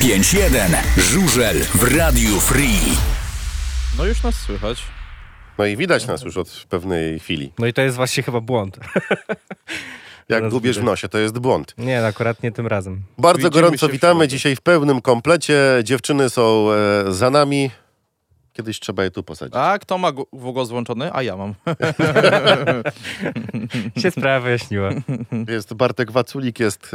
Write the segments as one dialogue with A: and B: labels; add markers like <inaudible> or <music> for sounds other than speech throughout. A: 5-1. Żużel w Radiu Free.
B: No już nas słychać.
C: No i widać
D: tak.
C: nas już od pewnej chwili.
D: No i to jest właśnie chyba błąd.
C: Jak
D: Teraz
C: gubiesz w
D: widzę.
C: nosie, to jest błąd.
D: <laughs> Nie, no akurat nie tym razem.
C: Bardzo
B: Widzimy
C: gorąco
B: się w
C: witamy
B: środę.
C: dzisiaj w pełnym komplecie. Dziewczyny są e, za nami. Kiedyś trzeba je tu posadzić.
B: A kto ma gu- w ogóle złączony? A ja mam. <laughs>
D: Się sprawa <laughs> wyjaśniła. Mm.
C: Jest Bartek Waculik, jest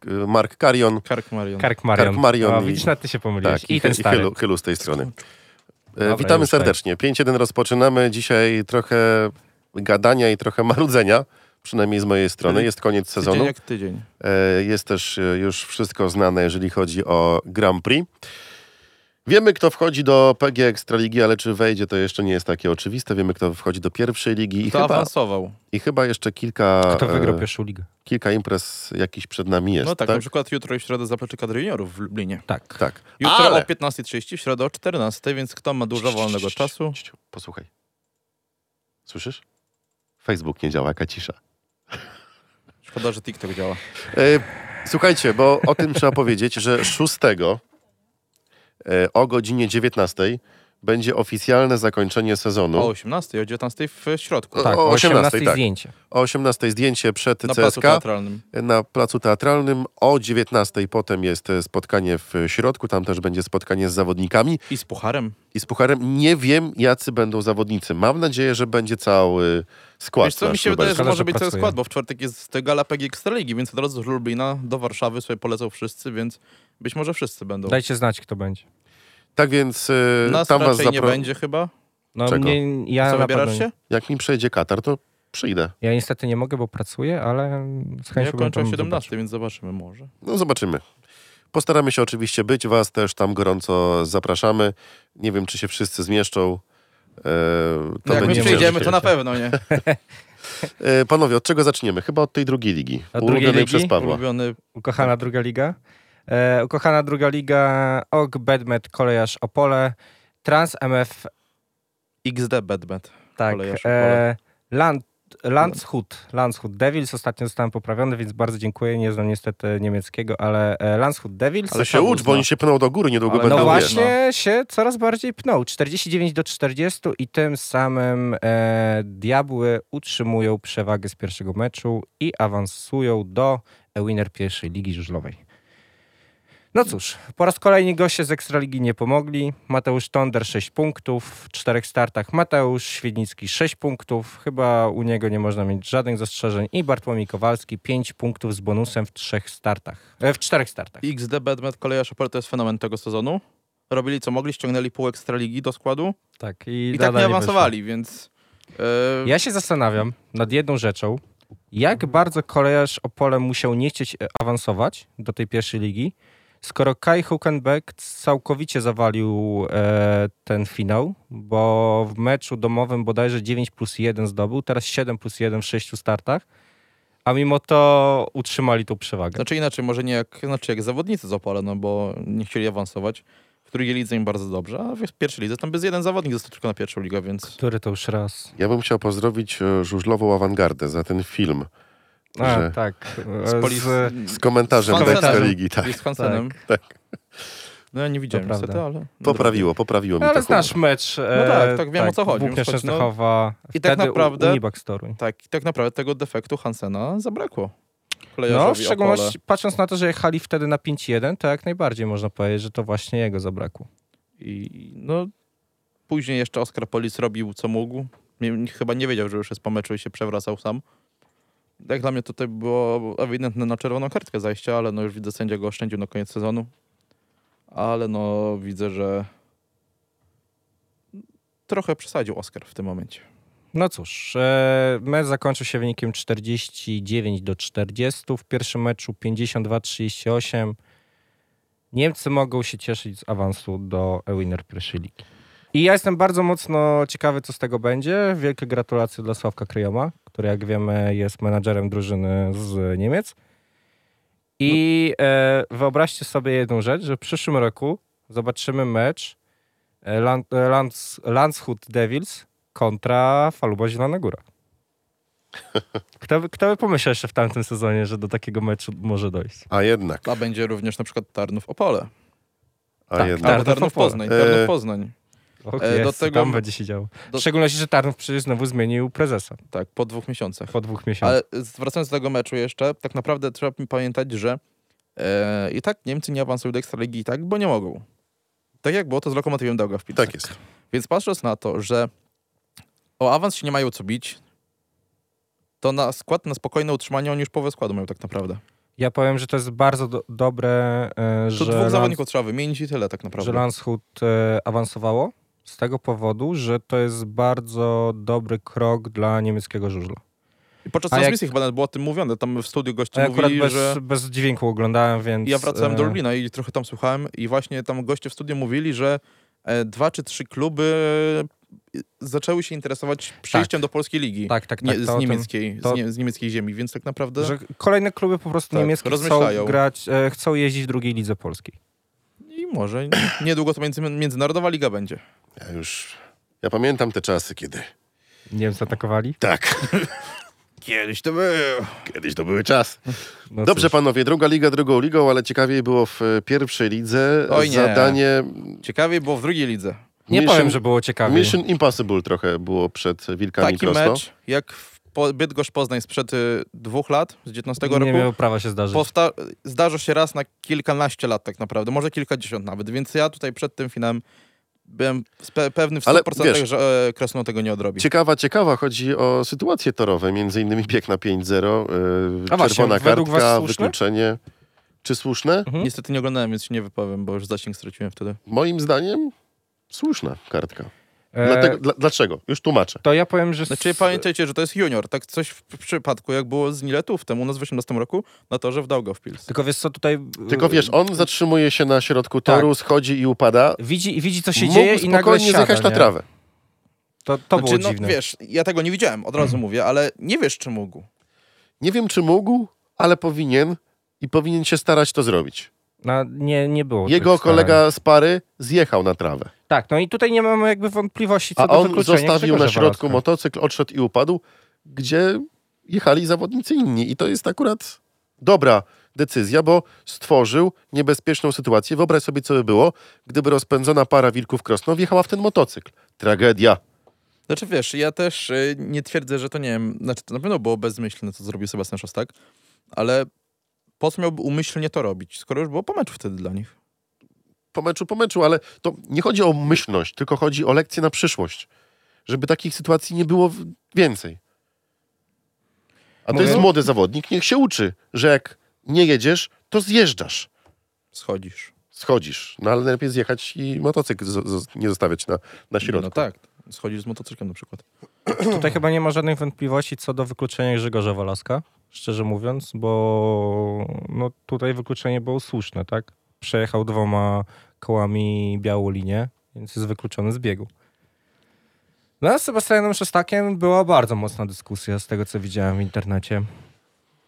C: e, e, Mark Karion.
B: Kark Marion.
D: Kark Marion.
C: Kark Marion
D: O,
C: i-
D: widzisz, na ty się pomyliłeś.
C: Tak,
D: I ten stary.
C: Chylu, chylu z tej strony. E,
D: Dobra,
C: witamy
D: już tak.
C: serdecznie. 5-1 rozpoczynamy. Dzisiaj trochę gadania i trochę marudzenia. Przynajmniej z mojej strony. Jest koniec
B: Tydzień
C: sezonu.
B: jak tydzień.
C: E, Jest też e, już wszystko znane, jeżeli chodzi o Grand Prix. Wiemy, kto wchodzi do PG Ekstraligi, ale czy wejdzie, to jeszcze nie jest takie oczywiste. Wiemy, kto wchodzi do pierwszej ligi i,
B: Kto
C: chyba,
B: awansował?
C: i chyba jeszcze kilka,
D: Kto wygrał
C: e,
D: pierwszą ligę?
C: kilka imprez jakichś przed nami jest.
B: No tak,
C: tak?
B: na przykład jutro i w środę zaplecze kadry juniorów w Lublinie.
D: Tak.
C: Tak.
B: Jutro
C: Ale-
B: o 15.30, w środę o 14.00, więc kto ma dużo wolnego czasu?
C: Posłuchaj. Słyszysz? Facebook nie działa, jaka cisza.
B: Szkoda, że TikTok działa.
C: E, Słuchajcie, bo o tym trzeba powiedzieć, że 6 e, o godzinie 19 będzie oficjalne zakończenie sezonu.
B: O 18.00, o 19.00 w środku.
C: No. Tak.
D: Tak,
C: o
D: o
C: 18:00,
D: 18
C: tak.
D: zdjęcie.
C: O 18 zdjęcie przed
B: Na placu
C: CSK
B: teatralnym.
C: na placu teatralnym. O 19 potem jest e, spotkanie w środku. Tam też będzie spotkanie z zawodnikami
B: I z pucharem.
C: i z pucharem. Nie wiem, jacy będą zawodnicy. Mam nadzieję, że będzie cały skład.
B: Wiesz co, mi
C: nasz
B: się wydaje, że
D: Szkoda,
B: może
D: że
B: być cały
D: pracuje.
B: skład, bo w czwartek jest te gala PG Ekstraligi, więc od razu z Lublina do Warszawy sobie polecą wszyscy, więc być może wszyscy będą.
D: Dajcie znać, kto będzie.
C: Tak więc e,
B: Nas
C: tam was
B: raczej nie
C: zapro...
B: będzie chyba.
D: No,
C: Czego?
D: mnie, ja,
B: Co,
D: na
B: wybierasz
D: pewno nie.
B: się?
C: Jak mi przejdzie Katar, to przyjdę.
D: ja niestety nie mogę, bo pracuję, ale z chęcią
B: Ja
D: bym
B: kończę o
D: tam
B: 17, więc zobaczymy może.
C: No zobaczymy. Postaramy się oczywiście być. Was też tam gorąco zapraszamy. Nie wiem, czy się wszyscy zmieszczą. E,
B: No jak my
C: będzie-
D: będzie
B: przyjdziemy,
D: może
B: to na
D: ciekawe.
B: pewno, nie?
C: E, Panowie, od czego zaczniemy? Chyba od tej drugiej ligi.
D: Od drugiej
C: ulubionej
D: ligi?
C: przez <laughs> Pawła.
B: Ulubiony
D: Ukochana
B: Tak.
D: druga liga. E, ukochana druga liga. OG, Bedmet, Kolejarz, Opole. Trans MF,
B: XD Bedbet.
D: tak.
B: Kolejarz, Opole.
D: E, Land, Landshut. Landshut Devils. Ostatnio zostałem poprawiony, więc bardzo dziękuję. Nie znam niestety niemieckiego, ale e, Landshut Devils.
C: Ale się
B: Paweł
C: ucz, bo oni
B: zna.
C: się pną do góry, niedługo
B: Ale
C: będą
D: No
B: Panowie,
D: właśnie się coraz bardziej pnął. 49 do 40 i tym samym e, Diabły utrzymują przewagę z pierwszego meczu i awansują do e, winner pierwszej ligi żużlowej. No cóż, po raz kolejny goście z Ekstraligi nie pomogli. Mateusz Tonder 6 punktów, w czterech startach Mateusz Świdnicki 6 punktów, chyba u niego nie można mieć żadnych zastrzeżeń i Bartłomiej Kowalski 5 punktów z bonusem w trzech startach, e, w czterech startach.
B: XD Bedmet, kolejarz Opel to jest fenomen tego sezonu. Robili co mogli, ściągnęli pół Ekstraligi do składu
D: Tak,
B: i,
D: i,
B: tak
D: nadal
B: nie
D: wyszło.
B: awansowali, więc... e,
D: Ja się zastanawiam nad jedną rzeczą. Jak bardzo kolejarz Opole musiał nie chcieć e, awansować do tej pierwszej ligi, skoro Kai Huckenbeck całkowicie zawalił e, ten finał, bo w meczu domowym bodajże 9 plus 1 zdobył, teraz 7 plus 1 w 6 startach, a mimo to utrzymali tą przewagę.
B: Znaczy inaczej, może nie jak, znaczy jak zawodnicy z Opola, no bo nie chcieli awansować. W drugiej lidze im bardzo dobrze, a w pierwszej lidze tam bez jeden zawodnik został tylko na pierwszą ligę, więc...
D: Który to już raz?
C: Ja bym chciał pozdrowić e, żużlową awangardę za ten film
D: A,
C: Że-
D: tak.
B: Z
D: e,
B: Poli...
D: z-
C: z komentarzem
B: Z
C: do
B: komentarzem.
C: Ekstraligi. Tak.
B: z Hansenem.
C: tak.
B: No ja nie widziałem
D: To prawda.
B: niestety, ale...
C: Poprawiło, poprawiło mi to.
D: Ale
C: humor.
D: znasz mecz. e,
B: No tak, tak, wiem, o co chodzi.
D: Włóknia
B: Chodzi, no-
D: Częstochowa,
B: I tak
D: wtedy
B: naprawdę-
D: U, Unibak Storuń.
B: Tak, i tak naprawdę tego defektu Hansena zabrakło.
D: No, w
B: Kolejarzowi
D: szczególności
B: Opole.
D: patrząc na to, że jechali wtedy na 5-1, to jak najbardziej można powiedzieć, że to właśnie jego zabrakło.
B: I no, później jeszcze Oskar Polis robił co mógł. Nie, chyba nie wiedział, że już jest po meczu i się przewracał sam. Jak dla mnie tutaj było ewidentne na czerwoną kartkę zajście, ale no już widzę, sędzia go oszczędził na koniec sezonu. Ale no widzę, że trochę przesadził Oskar w tym momencie.
D: No cóż, e, mecz zakończył się wynikiem 49 do 40, w pierwszym meczu 52-38. Niemcy mogą się cieszyć z awansu do Winner pierwszej ligi. I ja jestem bardzo mocno ciekawy, co z tego będzie. Wielkie gratulacje dla Sławka Kryjoma, który jak wiemy jest menadżerem drużyny z Niemiec. I e, wyobraźcie sobie jedną rzecz, że w przyszłym roku zobaczymy mecz e, Land, e, Lands, Landshut Devils kontra Faluba Zielona
B: <laughs>
D: Góra. Kto by, kto by pomyślał jeszcze w tamtym sezonie, że do takiego meczu może dojść?
C: A jednak.
B: A będzie również na przykład Tarnów Opole.
C: a
D: Tak,
C: jednak.
B: Albo
D: Tarnów
B: Tarnów Poznań,
D: Poznań.
B: Tarnów
C: E,
B: Poznań.
D: Och,
B: E, do
D: jest,
B: tego-
D: Tam będzie się działo.
B: do-
D: W szczególności, że Tarnów przecież znowu zmienił prezesa
B: Tak, po dwóch miesiącach.
D: po dwóch
B: Ale
D: miesiącach.
B: wracając do tego meczu jeszcze, tak naprawdę trzeba mi pamiętać, że e, i tak Niemcy nie awansują do Ekstraligi i tak, bo nie mogą. Tak jak było to z Lokomotywem Dauga w Pilsach.
C: Tak jest.
B: Więc patrząc na to, że o awans się nie mają co bić, to na skład, na spokojne utrzymanie oni już połowę składu mają tak naprawdę.
D: Ja powiem, że to jest bardzo do, dobre, e,
B: Tu
D: że,
B: dwóch
D: Lans-
B: zawodników trzeba wymienić i tyle tak
D: że
B: naprawdę.
D: Landshut e, awansowało z tego powodu, że to jest bardzo dobry krok dla niemieckiego żużla.
B: I podczas
D: A jak-
B: transmisji chyba nawet było o tym mówione, tam w studiu goście
D: A ja akurat
B: mówili,
D: bez,
B: że...
D: bez dźwięku oglądałem, więc...
B: Ja wracałem do
D: e,
B: Lublina i trochę tam słuchałem i właśnie tam goście w studiu mówili, że e, dwa czy trzy kluby e, zaczęły się interesować przyjściem do polskiej ligi.
D: Tak, tak, tak.
B: Nie,
D: to o
B: z,
D: tym-
B: niemieckiej,
D: to-
B: z, nie, z niemieckiej ziemi, więc tak naprawdę
D: Że kolejne kluby po prostu
B: Tak,
D: niemieckie chcą
B: rozmyślają.
D: grać, e, chcą jeździć w drugiej lidze polskiej.
B: i może niedługo to między, międzynarodowa liga będzie.
C: Ja już... Ja pamiętam te czasy, kiedy...
D: Niemcy atakowali?
C: Tak, <laughs>
B: Kiedyś to było.
C: kiedyś to były czas.
D: No
C: Dobrze,
D: cóż.
C: panowie, druga liga drugą ligą, ale ciekawiej było w e, pierwszej lidze.
B: Oj nie.
C: Zadanie
B: Ciekawie było w drugiej lidze.
D: Nie
C: Mission-
D: powiem, że było ciekawie.
C: Mission Impossible trochę było przed Wilkami
B: Taki
C: prosto.
B: mecz jak w po- Bydgoszcz Poznań sprzed y, dwóch lat, z 19
D: nie
B: roku.
D: miało prawa się zdarzyć.
B: Powsta- zdarza się raz na kilkanaście lat tak naprawdę, może kilkadziesiąt nawet, więc ja tutaj przed tym finałem byłem spe- pewny w 100%,
C: Ale wiesz-
B: że e, Krasno tego nie odrobi.
C: Ciekawa, ciekawa, chodzi o sytuacje torowe, między innymi bieg na 5-0, yy,
D: A właśnie,
C: czerwona
D: według was
C: kartka,
D: słuszne?
C: wykluczenie. Czy słuszne?
B: Niestety nie oglądałem, więc się nie wypowiem, bo już zasięg straciłem wtedy.
C: Moim zdaniem słuszna kartka.
D: E,
C: Dlatego, dla, dlaczego? Już tłumaczę.
D: To ja powiem, że...
B: Znaczy
D: s-
B: pamiętajcie, że to jest junior, tak coś w przypadku jak było z Niletówtem u nas w 18 roku na torze w Daugavpils.
D: Tylko wiesz co, tutaj...
C: Tylko wiesz, on zatrzymuje się na środku toru, schodzi i upada.
D: Widzi, widzi co tak. się
C: Mógł
D: dzieje i
C: spokojnie
D: nagle siada,
C: zjechać na
D: nie?
C: trawę.
D: To, to
B: Znaczy,
D: było
B: no
D: dziwne.
B: wiesz, ja tego nie widziałem, od
C: <clears throat>
B: razu mówię, ale nie wiesz czy mógł.
C: Nie wiem, czy mógł, ale powinien i powinien się starać to zrobić.
D: No, nie, nie było
C: Jego
D: tych starań.
C: kolega z pary zjechał na trawę,
D: Tak, no i tutaj nie mamy jakby wątpliwości co
C: a
D: do
C: on
D: wykluczenia
C: zostawił
D: Grzegorza
C: na środku
D: Walaska.
C: motocykl, odszedł i upadł, gdzie jechali zawodnicy inni. I to jest akurat dobra decyzja, bo stworzył niebezpieczną sytuację. Wyobraź sobie, co by było, gdyby rozpędzona para wilków krosno wjechała w ten motocykl. Tragedia.
B: Znaczy wiesz, ja też y, nie twierdzę, że to nie wiem, znaczy to na pewno było bezmyślne, co zrobił Sebastian Szostak, ale po co miałby umyślnie to robić, skoro już było po meczu wtedy dla nich?
C: po meczu po meczu, ale to nie chodzi o myślność, tylko chodzi o lekcję na przyszłość. Żeby takich sytuacji nie było w- więcej. A to
D: Mówię-
C: jest młody zawodnik, niech się uczy, że jak nie jedziesz, to zjeżdżasz,
B: Schodzisz.
C: schodzisz. No ale najlepiej zjechać i motocykl zo- zo- nie zostawiać na, na środku.
B: No tak, schodzisz z motocyklem na przykład.
D: Tutaj chyba nie ma żadnych wątpliwości co do wykluczenia Grzegorza Walaska, szczerze mówiąc, bo no, tutaj wykluczenie było słuszne, tak? Przejechał dwoma kołami białą linię, więc jest wykluczony z biegu. No, z Sebastianem Szestakiem była bardzo mocna dyskusja, z tego co widziałem w internecie.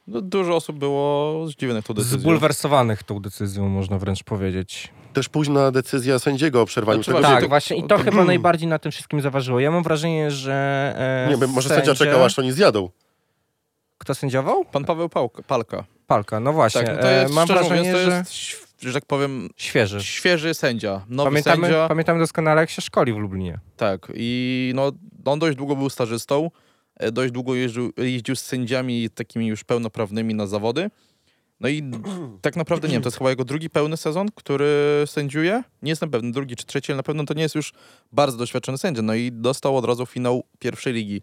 B: No, dużo osób było zdziwionych tą decyzją.
D: Zbulwersowanych tą decyzją, można wręcz powiedzieć.
C: Też późna decyzja sędziego o przerwaniu
B: Znaczy,
C: tego.
B: właśnie
D: Tak,
B: to-
D: właśnie. I to,
B: to-
D: chyba najbardziej na tym wszystkim zaważyło. Ja mam wrażenie, że. E,
C: Nie wiem, może
D: sędzia
C: sędzia czekał, aż oni zjadą.
D: Kto sędziował?
B: Pan Paweł Pałka, Palka.
D: Palka, no właśnie.
B: Tak, no to jest,
D: e, mam
B: szczerze
D: wrażenie,
B: mówiąc, to
D: że.
B: jest, ś- że tak powiem,
D: Świeży.
B: świeży sędzia, nowy
D: Pamiętamy,
B: sędzia.
D: pamiętamy doskonale, jak się szkoli w Lublinie.
B: Tak, i no, on dość długo był stażystą, e, dość długo jeździł, jeździł z sędziami takimi już pełnoprawnymi na zawody. No i tak naprawdę nie wiem, to jest chyba jego drugi pełny sezon, który sędziuje. Nie jestem pewny, drugi czy trzeci, ale na pewno to nie jest już bardzo doświadczony sędzia. No i dostał od razu finał pierwszej ligi.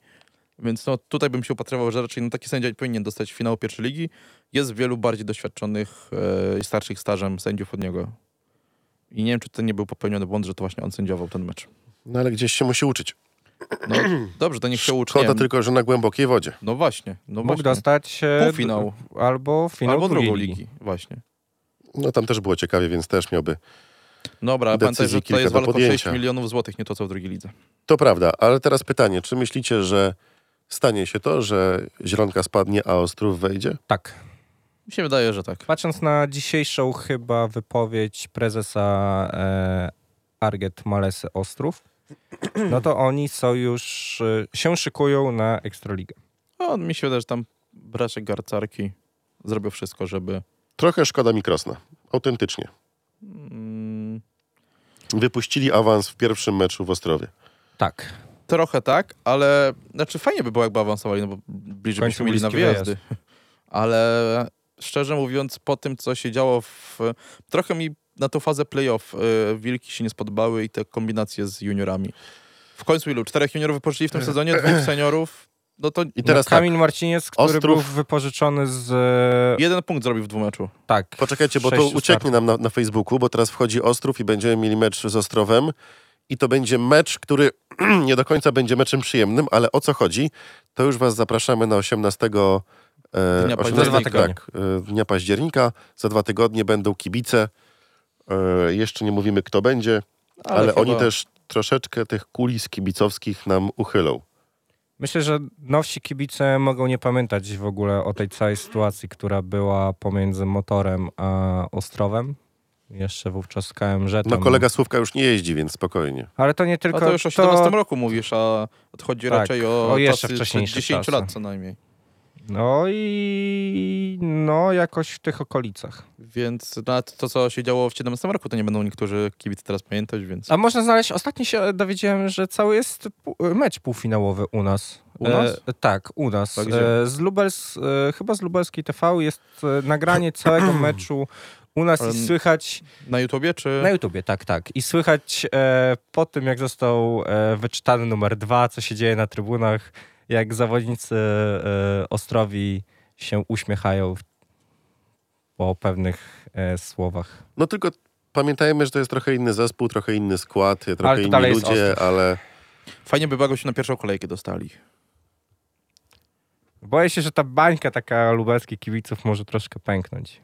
B: Więc no, tutaj bym się upatrywał, że raczej no, taki sędzia powinien dostać finał pierwszej ligi. Jest wielu bardziej doświadczonych e, i starszych stażem sędziów od niego. I nie wiem, czy to nie był popełniony błąd, że to właśnie on sędziował ten mecz.
C: No ale gdzieś się musi uczyć.
B: No
C: <clears throat>
B: dobrze, to niech się uczy. nie
C: Szkoda
B: wiem.
C: tylko, że na głębokiej wodzie.
B: No właśnie, no
D: Mógł
B: właśnie.
D: dostać. e,
B: Półfinał.
D: d- Albo finał.
B: Albo
D: drugiej
B: drugą ligi, właśnie.
C: No tam też było ciekawie, więc też miałby
B: Dobra, ale
C: Decyzji
B: pamiętaj, że
C: kilka
B: to jest
C: do
B: walka o 6
C: podjęcia.
B: milionów złotych, nie to co w drugiej lidze.
C: To prawda, ale teraz pytanie, czy myślicie, że stanie się to, że zielonka spadnie, a ostrów wejdzie?
D: Tak.
B: Mi się wydaje, że tak.
D: Patrząc na dzisiejszą chyba wypowiedź prezesa e, Arget Malesy Ostrów, no to oni są już. E, się szykują na Ekstraligę.
B: No, mi się wydaje, że tam braczek garcarki zrobił wszystko, żeby...
C: Trochę szkoda mi Krosna. Autentycznie.
B: Mm,
C: Wypuścili awans w pierwszym meczu w Ostrowie.
D: Tak.
B: Trochę tak, ale znaczy fajnie by było, jakby awansowali, no bo
D: W
B: bliżej
D: końcu
B: byśmy mieli na
D: bliski
B: wyjazdy.
D: wyjazd.
B: <laughs> Ale szczerze mówiąc, po tym, co się działo w... Trochę mi na tą fazę playoff y, wilki się nie spodobały i te kombinacje z juniorami. W końcu ilu? Czterech juniorów wypożyczyli w
D: <laughs>
B: tym sezonie, dwóch seniorów. No to
C: I teraz
D: no,
C: tak,
D: Kamil Marciniec, który
C: Ostrów-
D: był wypożyczony z... e,
B: no, jeden punkt zrobił w dwumeczu.
D: Tak.
C: poczekajcie, bo to
D: sześciu
C: ucieknie nam na, na Facebooku, bo teraz wchodzi Ostrów i będziemy mieli mecz z Ostrowem. I to będzie mecz, który <clears throat> nie do końca będzie meczem przyjemnym, ale o co chodzi, to już was zapraszamy na 18... E,
B: Dnia
C: 18
B: października.
C: tak, e, dnia października. Za dwa tygodnie będą kibice. E, jeszcze nie mówimy, kto będzie, ale,
B: chyba-
C: oni też troszeczkę tych kulis kibicowskich nam uchylą.
D: Myślę, że nowsi kibice mogą nie pamiętać w ogóle o tej całej sytuacji, która była pomiędzy motorem a Ostrowem. Jeszcze wówczas KMZ.
C: No kolega Słówka już nie jeździ, więc spokojnie.
D: Ale to nie
B: A
D: tylko...
B: to już o 17 roku mówisz, a chodzi
D: Tak,
B: raczej o,
D: o jeszcze
B: tacy
D: wcześniejsze
B: 10
D: czasy.
B: lat co najmniej.
D: No i... No jakoś w tych okolicach.
B: Więc nawet to, co się działo w 17 roku, to nie będą niektórzy kibice teraz pamiętać, więc...
D: A można znaleźć, ostatnio się dowiedziałem, że cały jest pu- mecz półfinałowy u nas.
B: U nas?
D: E, tak, u nas.
B: A gdzie?
D: E, z Lubels, e, chyba z Lubelskiej TV jest e, nagranie
B: <clears throat>
D: całego meczu u nas
B: Ale-
D: i słychać
B: Na YouTubie czy...
D: na YouTubie, tak, tak. I słychać e, po tym, jak został e, wyczytany numer dwa, co się dzieje na trybunach, jak zawodnicy e, Ostrowi się uśmiechają w- po pewnych e, słowach.
C: No tylko pamiętajmy, że to jest trochę inny zespół, trochę inny skład, trochę
D: to
C: inni
D: dalej jest
C: ludzie,
D: Ostrów.
C: ale
B: Fajnie by było, jakby się na pierwszą kolejkę dostali.
D: Boję się, że ta bańka taka lubelskich kibiców może troszkę pęknąć.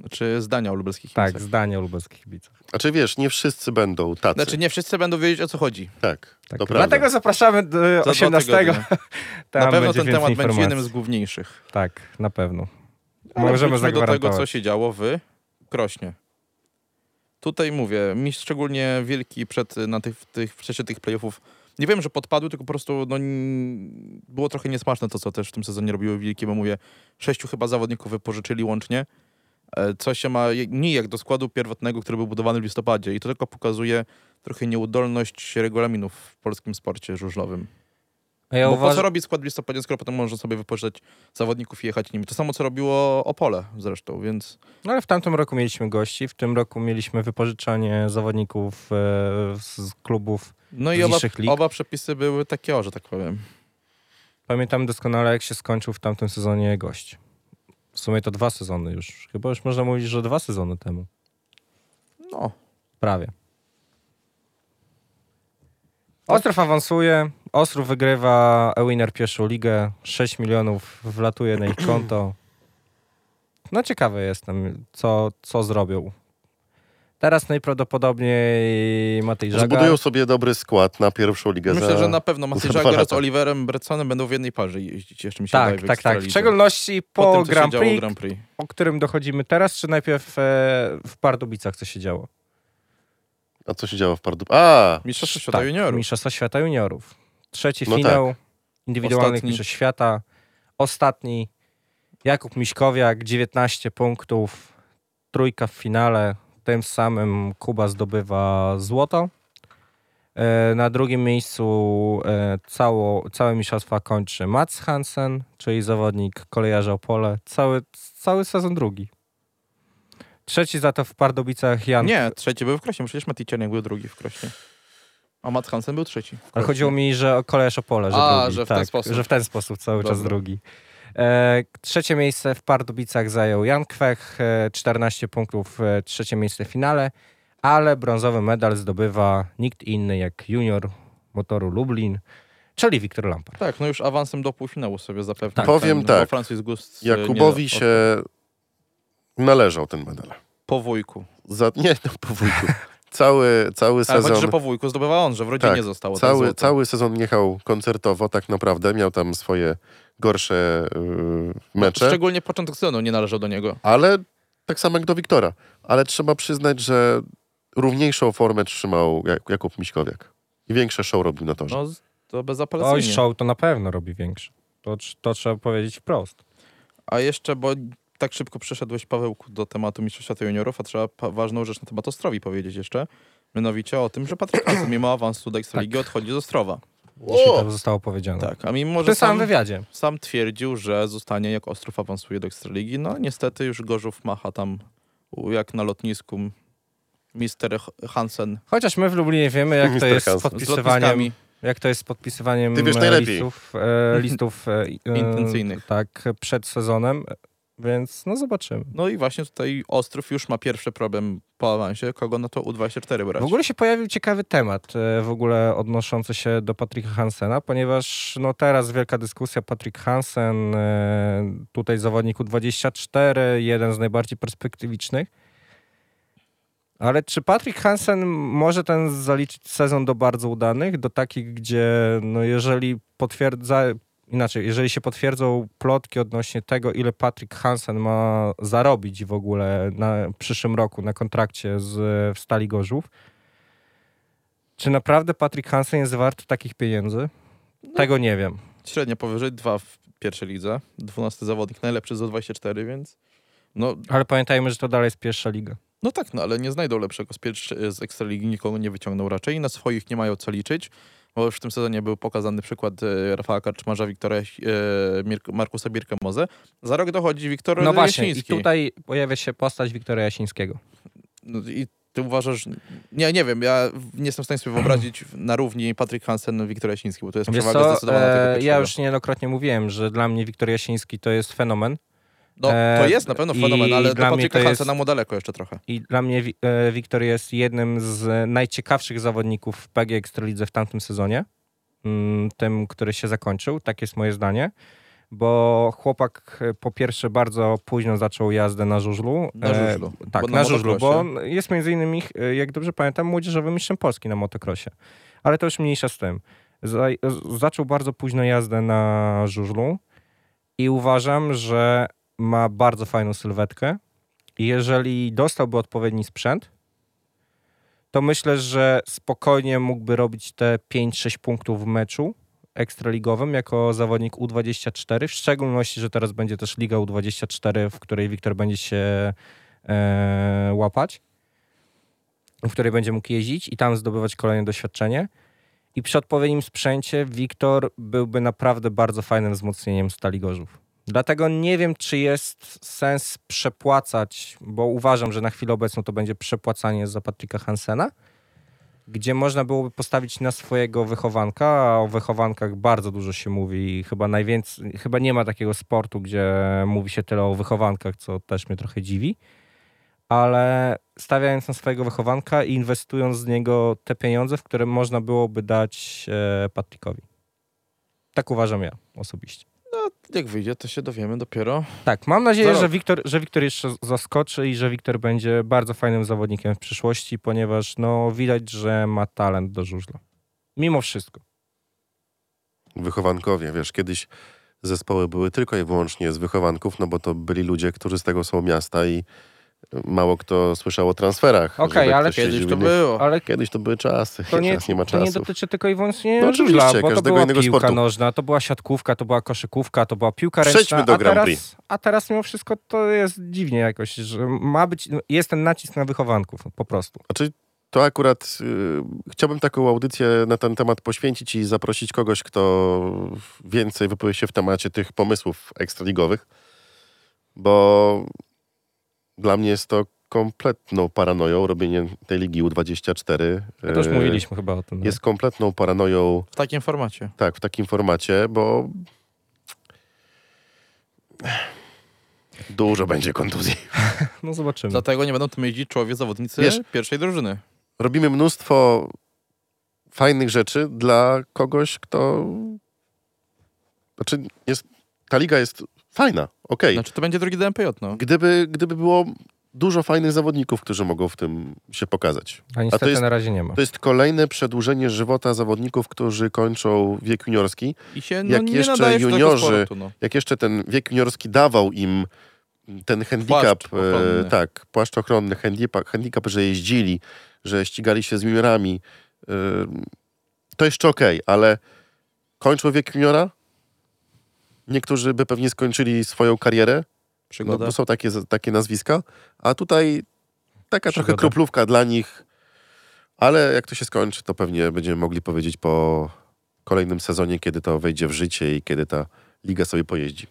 B: Znaczy zdania o lubelskich
D: Tak,
B: kibicach.
D: zdanie o lubelskich kibicach.
C: znaczy wiesz, nie wszyscy będą tacy.
B: Znaczy nie wszyscy będą wiedzieć o co chodzi.
C: tak,
D: Tak.
C: to prawda.
D: Dlatego zapraszamy do
B: Za dwa
D: 18.
B: tygodnie.
D: Tam
B: Na pewno
D: będzie
B: ten
D: więcej
B: temat będzie
D: informacji.
B: jednym z główniejszych.
D: Tak, na pewno.
B: Ale
D: Możemy
B: wróćmy do tego,
D: zagwarantować.
B: co się działo w Krośnie. Tutaj mówię, mi szczególnie wielki przed, na tych, w tych, w czasie tych playoffów, nie wiem, że podpadły, tylko po prostu no, n- było trochę niesmaczne to, co też w tym sezonie robiły wilki, bo mówię, sześciu chyba zawodników wypożyczyli łącznie, e, co się ma je- nie jak do składu pierwotnego, który był budowany w listopadzie i to tylko pokazuje trochę nieudolność regulaminów w polskim sporcie żużlowym.
D: A ja
B: Bo po
D: uważ...
B: co robić skład w listopadzie, skoro potem można sobie wypożyczać zawodników i jechać nimi? To samo, co robiło Opole zresztą, więc
D: no, ale w tamtym roku mieliśmy gości, w tym roku mieliśmy wypożyczanie zawodników e, z klubów.
B: no
D: Z
B: i oba,
D: niższych lig?
B: oba przepisy były takie, o, że tak powiem.
D: Pamiętam doskonale, jak się skończył w tamtym sezonie gość. W sumie to dwa sezony już. Chyba już można mówić, że dwa sezony temu.
B: No,
D: Prawie. Ostrów awansuje, Ostrów wygrywa Ewiner pierwszą ligę, 6 milionów wlatuje na ich konto. No ciekawy jestem, co, co zrobią. Teraz najprawdopodobniej Matej Żaga.
C: Zbudują sobie dobry skład na pierwszą ligę.
B: myślę,
C: za...
B: że na pewno Maciej
C: za dwa
B: Żagier z
C: lata.
B: Oliverem Bretsonem będą w jednej parze jeździć, jeszcze mi się
D: Tak,
B: wydaje,
D: tak, tak. W
B: Ekstralidze.
D: szczególności po,
B: tym, co się
D: Grand,
B: działo
D: Prix,
B: Grand Prix.
D: o którym dochodzimy teraz, czy najpierw e, w Pardubicach, co się działo?
C: A co się działo w Pardu? A,
B: Mistrzostwo Świata Juniorów. tak.
D: Mistrzostwa Tak. Świata Juniorów. Trzeci
C: No
D: finał indywidualnych
B: Ostatni.
D: Mistrzostw Świata. Ostatni. Jakub Miśkowiak, 19 punktów. Trójka w finale. Tym samym Kuba zdobywa złoto. E, Na drugim miejscu e, cało, całe mistrzostwa kończy Mats Hansen, czyli zawodnik kolejarza Opole. Cały, cały sezon drugi. Trzeci za to w Pardubicach Jan
B: Nie, trzeci był w Krośnie, przecież Mati Czerniak był drugi w Krośnie. A Matt Hansen był trzeci. w
D: Ale
B: Krośnie.
D: chodziło mi, że o koleż Opole, że
B: A,
D: drugi.
B: że w
D: tak,
B: ten sposób.
D: Że w ten sposób cały czas
B: Dobra.
D: drugi. E, trzecie miejsce w Pardubicach zajął Jan Kwech, e, 14 punktów, e, trzecie miejsce w finale, ale brązowy medal zdobywa nikt inny jak junior motoru Lublin, czyli Wiktor Lampard.
B: Tak, no już awansem do półfinału sobie zapewne.
D: Tak.
C: Powiem
B: ten,
C: tak,
B: bo Francis Gust e,
C: Jakubowi
B: nie,
C: się należał ten medal.
B: Po wujku.
C: Za... Nie, no po wujku. Cały, cały
B: Ale Tak, chodzi,
C: sezon...
B: że po wujku zdobywa on, że w rodzinie
C: Tak,
B: zostało. ten
C: Cały,
B: złoto.
C: cały sezon jechał koncertowo, tak naprawdę. Miał tam swoje gorsze yy, mecze,
B: Szczególnie początek sezonu nie należał do niego.
C: ale tak samo jak do Wiktora. Ale trzeba przyznać, że równiejszą formę trzymał Jak- Jakub Miśkowiak. I większe show robił na torze.
B: No, z- to
D: Oj,
B: bezapelacyjnie.
D: show to na pewno robi większy. To, tr- to trzeba powiedzieć wprost.
B: A jeszcze, bo tak szybko przeszedłeś, Pawełku, do tematu Mistrzostw Świata Juniorów, a trzeba pa- ważną rzecz na temat Ostrowi powiedzieć jeszcze, Mianowicie o tym, że Patryk Kacu mimo awansu do Ekstraligi
D: Tak.
B: odchodzi z Ostrowa.
D: Dzisiaj to zostało powiedziane.
B: Tak, a mimo,
D: W
B: że
D: tym samym
B: sam,
D: wywiadzie.
B: sam twierdził, że zostanie jak Ostrów awansuje do Ekstraligi, no niestety już Gorzów macha tam u- jak na lotnisku Mister H- Hansen
D: Chociaż my w Lublinie wiemy,
B: <laughs>
D: jak to
C: Mister
D: jest z
C: Hans. Z
B: z
D: podpisywaniem,
B: lotniskami.
D: jak to jest z podpisywaniem
C: Ty wiesz
D: e,
C: najlepiej.
D: listów, e,
C: <laughs>
D: listów e, i- e,
B: Intencyjnych.
D: Tak, przed sezonem, więc no zobaczymy.
B: No i właśnie tutaj Ostrów już ma pierwszy problem po awansie, kogo na to U24 brać.
D: W ogóle się pojawił ciekawy temat e, w ogóle odnoszący się do Patryka Hansena, ponieważ no teraz wielka dyskusja Patryk Hansen, e, tutaj zawodnik U24, jeden z najbardziej perspektywicznych. Ale czy Patryk Hansen może ten zaliczyć sezon do bardzo udanych, do takich, gdzie no jeżeli potwierdza, inaczej, jeżeli się potwierdzą plotki odnośnie tego, ile Patryk Hansen ma zarobić w ogóle na przyszłym roku na kontrakcie z w Stali Gorzów, czy naprawdę Patryk Hansen jest wart takich pieniędzy? Tego nie wiem.
B: Średnio powyżej dwa w pierwszej lidze, 12 zawodnik, najlepszy z U24, więc no,
D: Ale pamiętajmy, że to dalej jest pierwsza liga.
B: no tak, no ale nie znajdą lepszego z, pierwszy, z Ekstraligi, nikogo nie wyciągną raczej, na swoich nie mają co liczyć, bo już w tym sezonie był pokazany przykład e, Rafała Karczmarza, Wiktora, Jaś- e, Mirk- Markusa Birkemoze. Za rok dochodzi Wiktor
D: No właśnie, i
B: Jasiński.
D: tutaj pojawia się postać Wiktora Jasińskiego.
B: No I ty uważasz... Nie, nie wiem, ja nie jestem w stanie sobie wyobrazić na równi Patryk Hansen, Wiktor Jasiński, bo to jest
D: Wiesz
B: przewaga
D: co,
B: zdecydowana tego
D: e, ja
B: pierwszego.
D: już niejednokrotnie mówiłem, że dla mnie Wiktor Jasiński to jest fenomen.
B: No, to
D: E,
B: jest na pewno
D: i
B: fenomen, ale
D: dla
B: dla
D: mnie
B: Patryka
D: to jest-
B: Hansena mu daleko jeszcze trochę.
D: I dla mnie Wi- e, Wiktor jest jednym z najciekawszych zawodników w PG Ekstralidze w tamtym sezonie. Mm, Tym, który się zakończył, tak jest moje zdanie. Bo chłopak e, po pierwsze bardzo późno zaczął jazdę na żużlu.
B: Na
D: E,
B: żużlu.
D: Tak,
B: Bo
D: na,
B: na
D: żużlu, bo
B: motocrossie.
D: on jest między innymi, ch- jak dobrze pamiętam, młodzieżowym mistrzem Polski na motocrossie. Ale to już mniejsza z tym. Zaj- z- Zaczął bardzo późno jazdę na żużlu i uważam, że ma bardzo fajną sylwetkę. Jeżeli dostałby odpowiedni sprzęt, to myślę, że spokojnie mógłby robić te 5-6 punktów w meczu ekstraligowym jako zawodnik U24, w szczególności, że teraz będzie też Liga U24, w której Wiktor będzie się e, łapać, w której będzie mógł jeździć i tam zdobywać kolejne doświadczenie. I przy odpowiednim sprzęcie Wiktor byłby naprawdę bardzo fajnym wzmocnieniem Stali Gorzów. Dlatego nie wiem, czy jest sens przepłacać, bo uważam, że na chwilę obecną to będzie przepłacanie za Patryka Hansena, gdzie można byłoby postawić na swojego wychowanka, a o wychowankach bardzo dużo się mówi i chyba najwięcej, chyba nie ma takiego sportu, gdzie mówi się tyle o wychowankach, co też mnie trochę dziwi ale stawiając na swojego wychowanka i inwestując z niego te pieniądze, w które można byłoby dać e, Patrykowi. Tak uważam ja osobiście.
B: Jak wyjdzie, to się dowiemy dopiero.
D: Tak, mam nadzieję,
B: Za rok.
D: że Wiktor, że Wiktor jeszcze zaskoczy i że Wiktor będzie bardzo fajnym zawodnikiem w przyszłości, ponieważ no, widać, że ma talent do żużla. Mimo wszystko. No.
C: wychowankowie, wiesz, kiedyś zespoły były tylko i wyłącznie z wychowanków, no bo to byli ludzie, którzy z tego są miasta i mało kto słyszał o transferach.
D: Okej,
C: żeby
D: ale
C: ktoś
B: Kiedyś
C: jeździł
B: to
C: w innych-
B: było.
D: Ale
C: Kiedyś to były czasy,
D: to
C: <laughs>
D: nie,
C: teraz nie ma
D: to nie
C: czasu.
D: dotyczy tylko i wyłącznie
C: No oczywiście,
D: żużla, bo to
C: każdego
D: była
C: innego
D: piłka
C: sportu.
D: nożna, to była siatkówka, to była koszykówka, to była piłka
C: Przejdźmy
D: ręczna,
C: do
D: a,
C: Grand
D: teraz,
C: Prix.
D: a teraz mimo wszystko to jest dziwnie jakoś, że ma być, no, jest ten nacisk na wychowanków po prostu.
C: Znaczy, to akurat y, chciałbym taką audycję na ten temat poświęcić i zaprosić kogoś, kto więcej wypowie się w temacie tych pomysłów ekstraligowych, bo dla mnie jest to kompletną paranoją robienie tej Ligi U24.
D: To już
C: Y,
D: mówiliśmy chyba o tym. no.
C: Jest kompletną paranoją
B: W takim formacie.
C: Tak, w takim formacie, bo dużo będzie kontuzji.
D: No zobaczymy.
B: Dlatego nie będą tym jeździć człowiek zawodnicy
C: Wiesz-
B: pierwszej drużyny.
C: Robimy mnóstwo fajnych rzeczy dla kogoś, kto... Znaczy, jest, ta liga jest fajna, okej.
B: Znaczy to będzie drugi DMPJ, no.
C: Gdyby, gdyby było dużo fajnych zawodników, którzy mogą w tym się pokazać.
D: A niestety
C: jest-
D: na razie nie ma.
C: To jest kolejne przedłużenie żywota zawodników, którzy kończą wiek juniorski.
B: I się no,
C: Jak
B: nie
C: jeszcze
B: nadaje się do tego
C: juniorzy-
B: sportu, no.
C: jak jeszcze ten wiek juniorski dawał im ten handicap,
B: Płaszcz ochronny.
C: e, tak, płaszcz ochronny, handicap, handicap, że jeździli, że ścigali się z juniorami, e, to jeszcze okej, ale kończył wiek juniora? Niektórzy by pewnie skończyli swoją karierę, no,
B: Przygoda.
C: bo są takie, takie nazwiska, a tutaj taka trochę
D: Przygoda.
C: kroplówka dla nich, Ale jak to się skończy, to pewnie będziemy mogli powiedzieć po kolejnym sezonie, kiedy to wejdzie w życie i kiedy ta liga sobie pojeździ.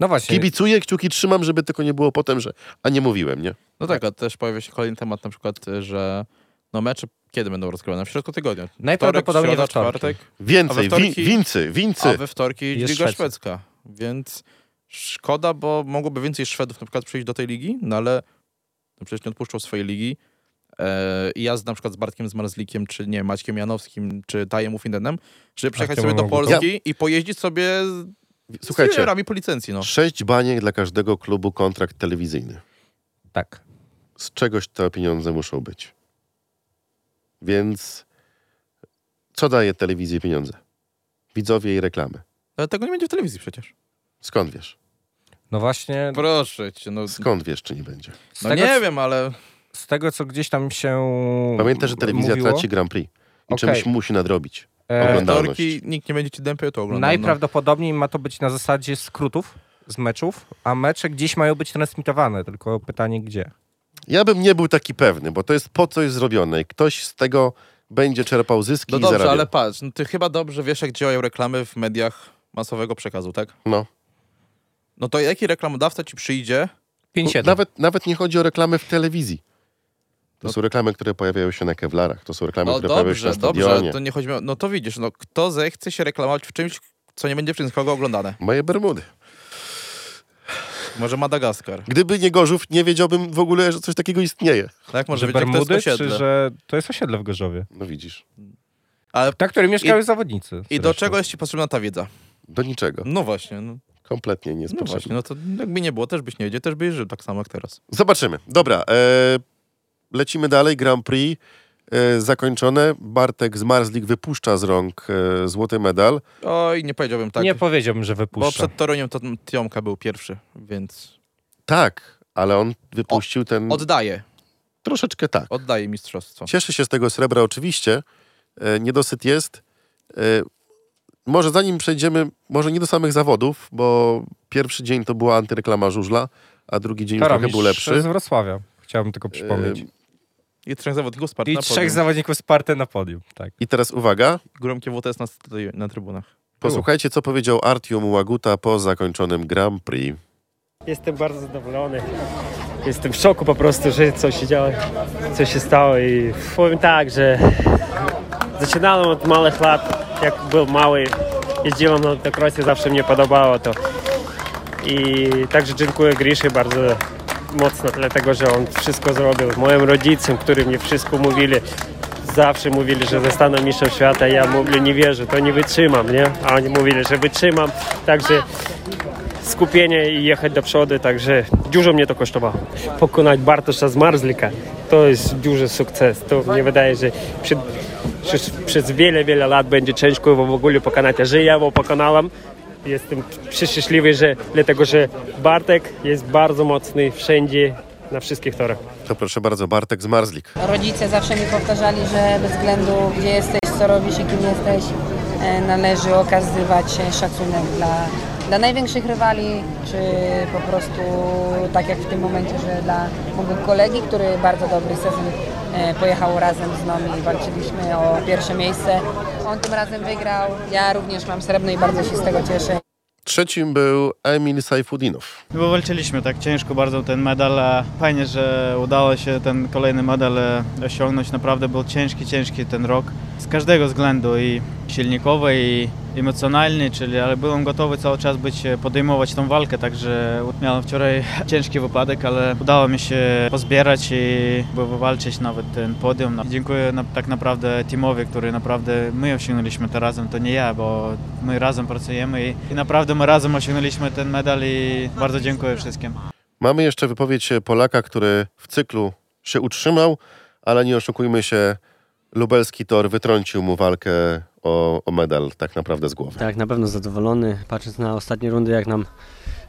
D: No właśnie,
C: Kibicuję, kciuki trzymam, żeby tylko nie było potem, że a nie mówiłem, nie?
B: No tak, a też pojawia się kolejny temat, na przykład, y, że no mecze kiedy będą rozgrywane? W środku tygodnia.
D: Najprawdopodobniej
B: Wtorek,
D: we
B: środa,
D: wtorki.
B: czwartek, A
C: Więcej,
B: we wtorki-
C: wi- wincy, wincy.
B: a we wtorki
D: Jest
B: Liga
D: Szwecja.
B: Szwedzka. Więc szkoda, bo mogłoby więcej Szwedów na przykład przyjść do tej ligi, no ale no przecież nie odpuszczą swojej ligi. E, I ja z, na przykład z Bartkiem Zmarzlikiem, czy nie, Maćkiem Janowskim, czy Tajem Ufindenem, żeby przejechać
D: Artem
B: sobie do
D: Mamuta.
B: Polski i pojeździć sobie z- z
C: Słuchajcie,
B: juniorami po licencji. No.
C: sześć baniek dla każdego klubu kontrakt telewizyjny.
D: tak.
C: Z czegoś te pieniądze muszą być. Więc co daje telewizji pieniądze? Widzowie i reklamy.
B: Ale tego nie będzie w telewizji przecież.
C: Skąd wiesz?
D: No właśnie,
B: Proszę cię, no,
C: Skąd wiesz, czy nie będzie?
D: z
B: no
D: tego,
B: nie wiem, ale
D: z tego co gdzieś tam się
C: Pamiętaj, że telewizja
D: mówiło,
C: traci Grand Prix i
D: Okej.
C: czymś musi nadrobić.
D: e,
C: Oglądalność.
B: wtorki nikt nie będzie ci dępiał, to oglądał. no.
D: Najprawdopodobniej ma to być na zasadzie skrótów z meczów, a mecze gdzieś mają być transmitowane, tylko pytanie gdzie.
C: Ja bym nie był taki pewny, bo to jest po coś zrobione i ktoś z tego będzie czerpał zyski
B: No
C: i
B: dobrze,
C: zarabia.
B: ale patrz, no ty chyba dobrze wiesz, jak działają reklamy w mediach masowego przekazu, tak?
C: No.
B: No to jaki reklamodawca ci przyjdzie?
D: 5-7.
C: Nawet, nawet nie chodzi o reklamy w telewizji. To
B: No.
C: są reklamy, które pojawiają się na kewlarach, to są reklamy,
B: No
C: które pojawiają się na
B: dobrze, dobrze,
C: stadionie.
B: ale to nie chodzi o... No to widzisz, no kto zechce się reklamować w czymś, co nie będzie przez nikogo oglądane?
C: Moje Bermudy.
B: Może Madagaskar,
C: Gdyby nie Gorzów, nie wiedziałbym w ogóle, że coś takiego istnieje.
B: tak? Może
D: Może że
B: być jak to jest
D: Bermudy,
B: osiedle.
D: czy że to jest osiedle w Gorzowie?
C: No widzisz.
B: Ale
D: Na którym Tak, mieszkają zawodnicy.
B: i
D: zresztą.
B: do czego jest ci potrzebna ta wiedza?
C: Do niczego.
B: No właśnie, no,
C: Kompletnie nie jest
B: no
C: potrzebne.
B: właśnie, no to jakby nie było, też byś nie wiedział, też byś żył tak samo jak teraz.
C: Zobaczymy. Dobra, e, lecimy dalej. Grand Prix e, zakończone. Bartek z Marzlik wypuszcza z rąk e, złoty medal.
B: Oj, nie powiedziałbym tak,
D: Nie powiedziałbym, że
B: bo
D: wypuszczę.
B: przed Toruniem to Tiomka był pierwszy, więc
C: Tak, ale on wypuścił ten...
B: oddaję,
C: Troszeczkę tak.
B: oddaję mistrzostwo.
C: Cieszy się z tego srebra oczywiście. E, niedosyt jest. E, może zanim przejdziemy, może nie do samych zawodów, bo pierwszy dzień to była antyreklama żużla, a drugi dzień już trochę
D: Karamistrz
C: był lepszy.
D: z Wrocławia. Chciałbym tylko przypomnieć.
B: I trzech zawodników Sparta
D: I
B: Yy, na
D: trzech
B: podium.
D: zawodników Sparty na podium, tak.
C: I teraz uwaga,
B: Gromkie WTS na, tutaj, na trybunach.
C: posłuchajcie co powiedział Artium Łaguta po zakończonym Grand Prix.
E: Jestem bardzo zadowolony. Jestem w szoku po prostu, że co się działo, co się stało i powiem tak, że zaczynałem od małych lat, jak był mały, jeździłem na motocrossie, zawsze mnie podobało to. I także dziękuję Griszy bardzo mocno, dlatego że on wszystko zrobił. Moim rodzicom, którzy mnie wszystko mówili, zawsze mówili, że zostanę mistrzem świata, ja mówię, nie wierzę, to nie wytrzymam, nie? A oni mówili, że wytrzymam, także skupienie i jechać do przodu, także dużo mnie to kosztowało. Pokonać Bartosza z Marzlika to jest duży sukces. To mnie wydaje, że przed, przez, przez wiele, wiele lat będzie ciężko go w ogóle pokonać, a że ja go pokonałem, jestem przeszczęśliwy, że dlatego, że Bartek jest bardzo mocny wszędzie, na wszystkich torach.
C: To proszę bardzo, Bartek z Marzlik.
F: Rodzice zawsze mi powtarzali, że bez względu gdzie jesteś, co robisz i kim jesteś, e, należy okazywać szacunek dla, dla największych rywali, czy po prostu tak jak w tym momencie, że dla mojego kolegi, który bardzo dobry sezon e, pojechał razem z nami i walczyliśmy o pierwsze miejsce. On tym razem wygrał, ja również mam srebrny i bardzo się z tego cieszę.
C: Trzecim był Emil Sajfudinow.
G: Bo walczyliśmy tak ciężko bardzo o ten medal. a Fajnie, że udało się ten kolejny medal e, osiągnąć. Naprawdę był ciężki, ciężki ten rok. Z każdego względu i silnikowy, i emocjonalny, czyli ale byłem gotowy cały czas być, e, podejmować tą walkę, także miałem wczoraj ciężki wypadek, ale udało mi się pozbierać i wywalczyć nawet ten podium. I Dziękuję na, tak naprawdę teamowi, który naprawdę my osiągnęliśmy to razem, to nie ja, bo my razem pracujemy i, i naprawdę my razem osiągnęliśmy ten medal i bardzo dziękuję wszystkim.
C: Mamy jeszcze wypowiedź Polaka, który w cyklu się utrzymał, ale nie oszukujmy się, lubelski tor wytrącił mu walkę o, o medal tak naprawdę z głowy.
H: Tak, na pewno zadowolony. Patrząc na ostatnie rundy, jak nam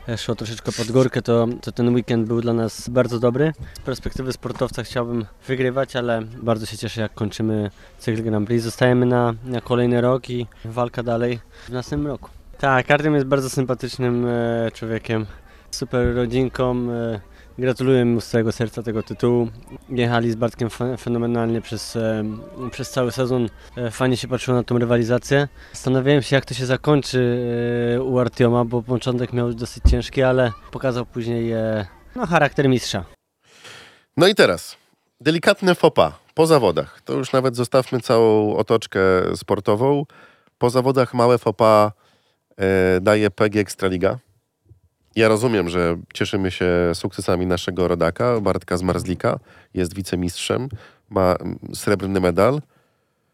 H: e, szło troszeczkę pod górkę, to, to ten weekend był dla nas bardzo dobry. Z perspektywy sportowca chciałbym wygrywać, ale bardzo się cieszę, jak kończymy cykl Grand Prix. Zostajemy na, na kolejny rok i walka dalej w następnym roku. Tak, Artem jest bardzo sympatycznym e, człowiekiem, super rodzinką, e, Gratuluję mu z całego serca tego tytułu. Jechali z Bartkiem fe- fenomenalnie przez, e, przez cały sezon. E, Fajnie się patrzyło na tą rywalizację. Zastanawiałem się, jak to się zakończy e, u Artioma, bo początek miał dosyć ciężki, ale pokazał później e, no, charakter mistrza.
C: No i teraz, delikatne fopa po zawodach. To już nawet zostawmy całą otoczkę sportową. Po zawodach małe fopa e, daje PG Ekstraliga. Ja rozumiem, że cieszymy się sukcesami naszego rodaka, Bartka Zmarzlika. Jest wicemistrzem, ma mm, srebrny medal.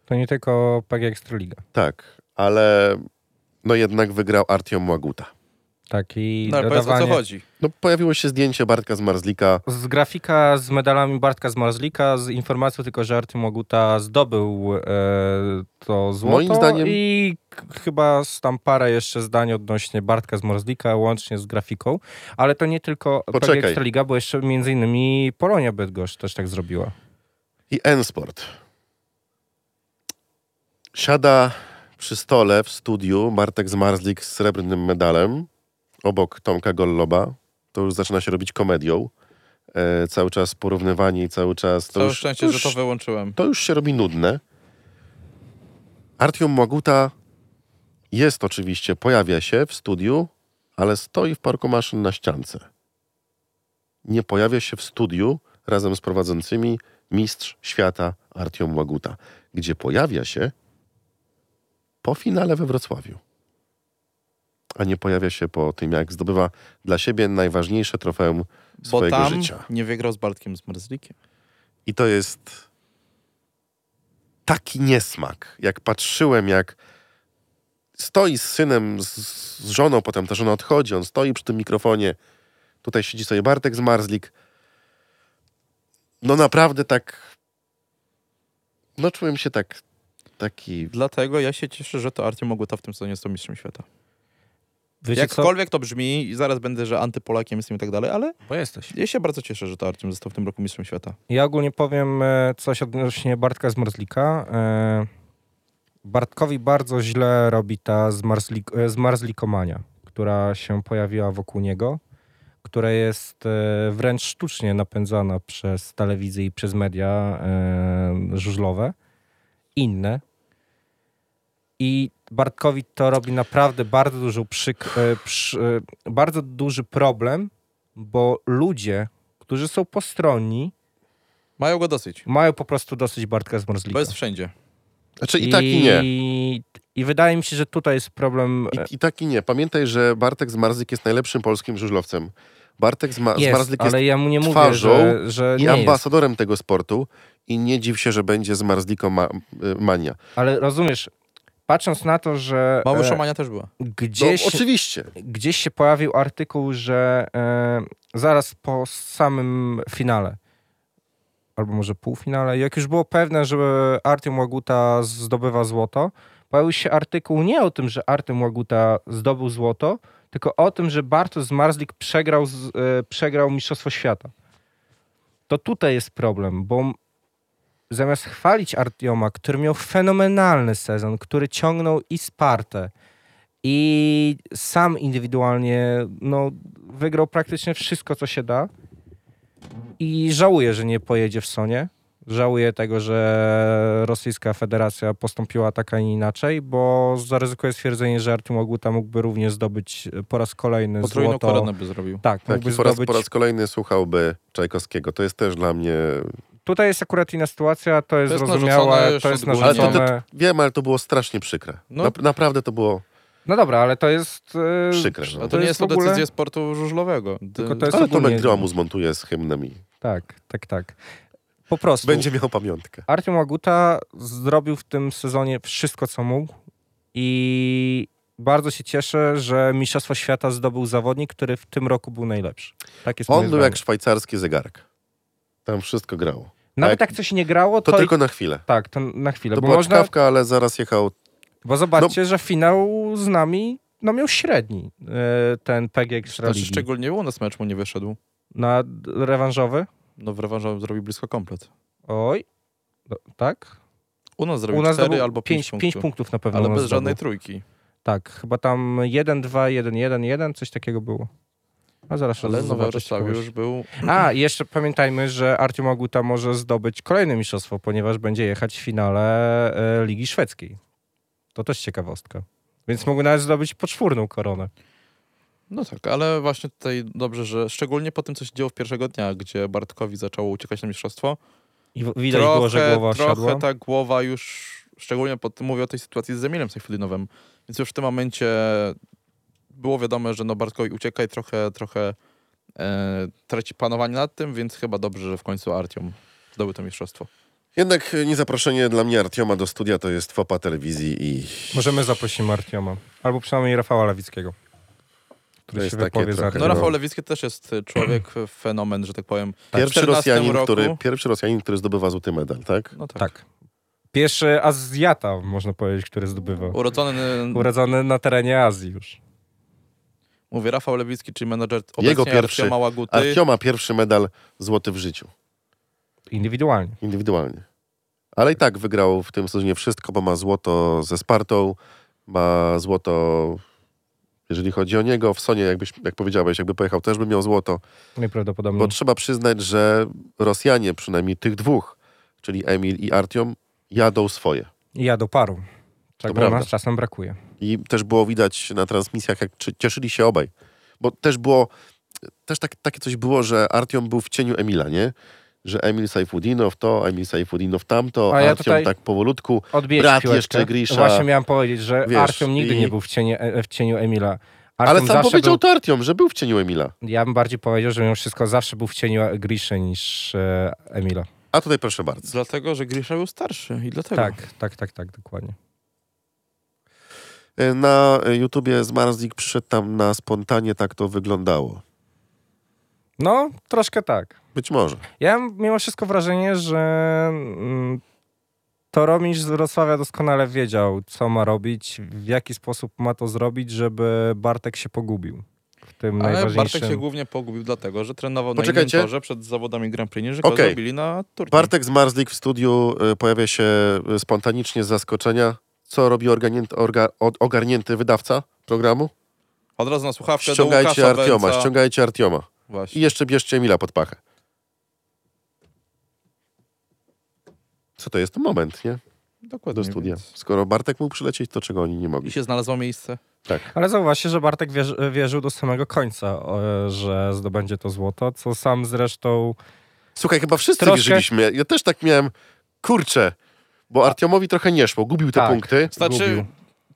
D: To nie tylko PG Ekstraliga.
C: Tak, ale no jednak wygrał Artiom Łaguta.
D: Tak, i
B: No ale powiedz o co
D: dodawanie...
B: chodzi.
C: No pojawiło się zdjęcie Bartka Zmarzlika.
D: Z grafika z medalami Bartka Zmarzlika, z informacją tylko, że Arty Moguta zdobył e, to złoto.
C: Moim zdaniem-
D: I k- chyba z- tam parę jeszcze zdań odnośnie Bartka Zmarzlika, łącznie z grafiką. Ale to nie tylko
C: Poczekaj.
D: PG Ekstraliga, bo jeszcze między innymi Polonia Bydgoszcz też tak zrobiła.
C: i N-Sport. Siada przy stole w studiu Bartek Zmarzlik z srebrnym medalem obok Tomka Golloba. To już zaczyna się robić komedią. E, cały czas porównywanie i cały czas... To
B: Całe
C: już,
B: szczęście,
C: już,
B: że to wyłączyłem.
C: to już się robi nudne. Artiom Maguta jest oczywiście, pojawia się w studiu, ale stoi w parku maszyn na ściance. Nie pojawia się w studiu razem z prowadzącymi mistrz świata Artiom Maguta, gdzie pojawia się po finale we Wrocławiu. A nie pojawia się po tym, jak zdobywa dla siebie najważniejsze trofeum
B: Bo
C: swojego
B: tam
C: życia.
B: nie wygrał z Bartkiem Zmarzlikiem.
C: I to jest taki niesmak. Jak patrzyłem, jak stoi z synem, z, z żoną, potem ta żona odchodzi, on stoi przy tym mikrofonie. Tutaj siedzi sobie Bartek Zmarzlik. No naprawdę tak... No czułem się tak... Taki...
B: Dlatego ja się cieszę, że to Artyom Moguta w tym sezonie jest mistrzem świata.
D: Wiecie
B: Jakkolwiek to brzmi i zaraz będę, że antypolakiem jestem i tak dalej, ale
D: Bo jesteś.
B: ja się bardzo cieszę, że to Artyom został w tym roku mistrzem świata.
D: Ja ogólnie powiem e, coś odnośnie Bartka Zmarzlika. E, Bartkowi bardzo źle robi ta zmarzlik, e, zmarzlikomania, która się pojawiła wokół niego, która jest e, wręcz sztucznie napędzana przez telewizję i przez media e, żużlowe, inne. I Bartkowi to robi naprawdę bardzo, dużą przyk- e, przy, e, bardzo duży problem, bo ludzie, którzy są postronni,
B: Mają go dosyć,
D: mają po prostu dosyć Bartka Zmarzlika.
B: bo jest wszędzie.
C: Znaczy i tak i nie.
D: I wydaje mi się, że tutaj jest problem. e,
C: I, i tak i nie. Pamiętaj, że Bartek Zmarzlik jest najlepszym polskim żużlowcem. Bartek Zma-
D: Jest,
C: Zmarzlik jest
D: ale ja mu nie mówię,
C: twarzą
D: że, że
C: i
D: nie jest.
C: ambasadorem tego sportu i nie dziw się, że będzie z Marzliką ma- y, mania.
D: Ale rozumiesz, patrząc na to, że
B: Mały
D: e,
B: Szomania też była.
C: No,
D: gdzieś,
C: oczywiście.
D: gdzieś się pojawił artykuł, że e, zaraz po samym finale, albo może półfinale, jak już było pewne, że Artem Łaguta zdobywa złoto, pojawił się artykuł nie o tym, że Artem Łaguta zdobył złoto, tylko o tym, że Bartosz Zmarzlik przegrał, z, e, przegrał Mistrzostwo Świata. To tutaj jest problem, bo m- zamiast chwalić Artioma, który miał fenomenalny sezon, który ciągnął i Spartę, i sam indywidualnie no, wygrał praktycznie wszystko, co się da. I żałuję, że nie pojedzie w Sonie. Żałuję tego, że rosyjska federacja postąpiła tak, a nie inaczej, bo zaryzykuję stwierdzenie, że Artyom Łaguta mógłby również zdobyć po raz kolejny
B: Potrójną
D: złoto.
B: koronę by zrobił.
D: Tak,
C: Tak,
D: mógłby
C: i po, raz,
D: zdobyć.
C: po raz kolejny słuchałby Czajkowskiego. To jest też dla mnie...
D: Tutaj jest akurat inna sytuacja, to jest,
B: jest narzucone,
D: zrozumiałe, to
B: jest
D: jest
C: Ale to,
B: odgórnie.
D: narzucone.
C: to, wiem, ale to było strasznie przykre.
B: No.
C: Nap- naprawdę to było
D: No dobra, ale to jest... e,
C: przykre.
B: A
C: No.
B: to,
D: to
B: nie
D: jest
B: jest
D: w
B: to
D: ogóle-
B: decyzja sportu żużlowego.
D: Tylko to jest
C: Ale
D: ogólnie-
C: Tomek Gromu zmontuje z hymnami.
D: Tak, tak, tak. Po prostu.
C: Będzie miał pamiątkę.
D: Artem Łaguta zrobił w tym sezonie wszystko, co mógł i bardzo się cieszę, że Mistrzostwo Świata zdobył zawodnik, który w tym roku był najlepszy. Tak jest moje
C: On był
D: zdanie.
C: jak szwajcarski zegarek. Tam wszystko grało.
D: Nawet
C: jak-
D: jak coś nie grało,
C: To
D: to...
C: tylko na chwilę.
D: Tak, to na chwilę,
C: To
D: bo
C: była no-
D: można...
C: czkawka, ale zaraz jechał...
D: Bo zobaczcie, że finał z nami no miał średni e, ten PG
B: Znaczy,
D: Ekstraligi.
B: szczególnie u nas mecz mu nie wyszedł.
D: Na d- rewanżowy?
B: No w rewanżu zrobił blisko komplet.
D: Oj. No, tak?
B: U nas zrobił
D: U nas
B: 4
D: zdobył
B: albo 5
D: pięć,
B: punktów.
D: pięć punktów na pewno.
B: ale
D: u nas
B: bez żadnej
D: zdobył.
B: trójki.
D: Tak, chyba tam 1, 2, 1, 1, 1, coś takiego było. A zaraz
B: Ale Nowe
D: zobaczyć
B: Wrocławiu
D: kogoś.
B: już był
D: A, i jeszcze pamiętajmy, że Artiom Aguta może zdobyć kolejne mistrzostwo, ponieważ będzie jechać w finale e, Ligi Szwedzkiej. To też ciekawostka. Więc mógł nawet zdobyć poczwórną koronę.
B: No tak, ale właśnie tutaj dobrze, że szczególnie po tym, co się działo w pierwszego dnia, gdzie Bartkowi zaczęło uciekać na mistrzostwo.
D: I w- widać było, że głowa siadła.
B: trochę tak- ta głowa już, szczególnie po tym, mówię o tej sytuacji z Emilem Sejfudinowem, więc już w tym momencie było wiadomo, że no Bartkowi ucieka i trochę, trochę e, traci panowanie nad tym, więc chyba dobrze, że w końcu Artiom zdobył to mistrzostwo.
C: Jednak e, niezaproszenie dla mnie Artioma do studia to jest fopa telewizji i
D: Możemy zaprosić Artioma. Albo przynajmniej Rafała Lewickiego.
C: To
D: Który
C: jest
D: się
C: takie
D: wypowie za
C: trochę-
B: No
D: Artioma.
B: Rafał Lewicki też jest e, człowiek, fenomen, że tak powiem. W
C: pierwszy
B: 14
C: Rosjanin,
B: roku-
C: który, pierwszy Rosjanin, który zdobywa złoty medal, tak?
B: No tak.
D: Tak. Pierwszy Azjata, można powiedzieć, który zdobywa.
B: Urodzony,
D: Urodzony na terenie Azji już.
B: mówię, Rafał Lewicki, czyli menadżer obecnie
C: Jego pierwszy.
B: Artioma Łaguty.
C: Artioma pierwszy medal złoty w życiu,
D: Indywidualnie.
C: indywidualnie. Ale i tak wygrał w tym sezonie wszystko, bo ma złoto ze Spartą, ma złoto, jeżeli chodzi o niego, w Sonie, jakbyś, jak powiedziałeś, jakby pojechał, też by miał
B: Mm.
C: złoto.
D: Najprawdopodobniej.
C: Bo trzeba przyznać, że Rosjanie, przynajmniej tych dwóch, czyli Emil i Artiom, jadą swoje.
D: I ja do paru. Czego
C: prawda.
D: nas czasem brakuje.
C: I też było widać na transmisjach, jak czy- cieszyli się obaj. Bo też było, też tak, takie coś było, że Artiom był w cieniu Emila, nie? Że Emil Sajfudinow to, Emil Sajfudinow tamto,
D: A ja
C: Artiom
D: tutaj-
C: tak powolutku.
D: Odbijesz
C: Brat
D: piłeczkę.
C: jeszcze Grisza.
D: Właśnie miałem powiedzieć, że
C: Wiesz,
D: Artyom nigdy
C: i-
D: nie był w, cienie, e, w cieniu Emila.
C: Ale
D: Artyom
C: sam
D: zawsze
C: powiedział
D: był,
C: to Artiom, że był w cieniu Emila.
D: Ja bym bardziej powiedział, że mimo wszystko zawsze był w cieniu Griszy niż e, Emila.
C: A tutaj proszę bardzo.
B: Dlatego, że Grisza był starszy i dlatego.
D: Tak, tak, tak, tak, dokładnie.
C: E, Na e, YouTubie Zmarzlik przyszedł tam na spontanie, tak to wyglądało.
D: No, troszkę tak.
C: Być może.
D: Ja mam mimo wszystko wrażenie, że mm, Toromisz z Wrocławia doskonale wiedział, co ma robić, w jaki sposób ma to zrobić, żeby Bartek się pogubił w tym
B: Ale
D: najważniejszym...
B: Bartek się głównie pogubił dlatego, że trenował
C: Poczekajcie.
B: na innym torze przed zawodami Grand Prix, że go
C: Okej.
B: zrobili na turniej.
C: Bartek Zmarzlik w studiu e, pojawia się e, spontanicznie z zaskoczenia. Co robi ogarnięty, orga, od- ogarnięty wydawca programu?
B: Od razu na słuchawkę do
C: Ściągajcie
B: Łukasza
C: Artioma,
B: Węca.
C: ściągajcie Artioma. I
B: Właśnie.
C: jeszcze bierzcie Emila pod pachę. Co to jest moment, nie?
B: Dokładnie.
C: Do studia.
B: więc.
C: Skoro Bartek mógł przylecieć, to czego oni nie
B: I
C: mogli?
B: się znalazło miejsce.
D: Ale zauważcie, że Bartek wierzy, wierzył do samego końca, e, że zdobędzie to złoto, co sam zresztą
C: Słuchaj, chyba wszyscy
D: Troszkę-
C: wierzyliśmy. Ja też tak miałem, kurczę, bo Artiomowi trochę nie szło, gubił te
D: Tak.
C: punkty.
B: Znaczy,
D: Gubił.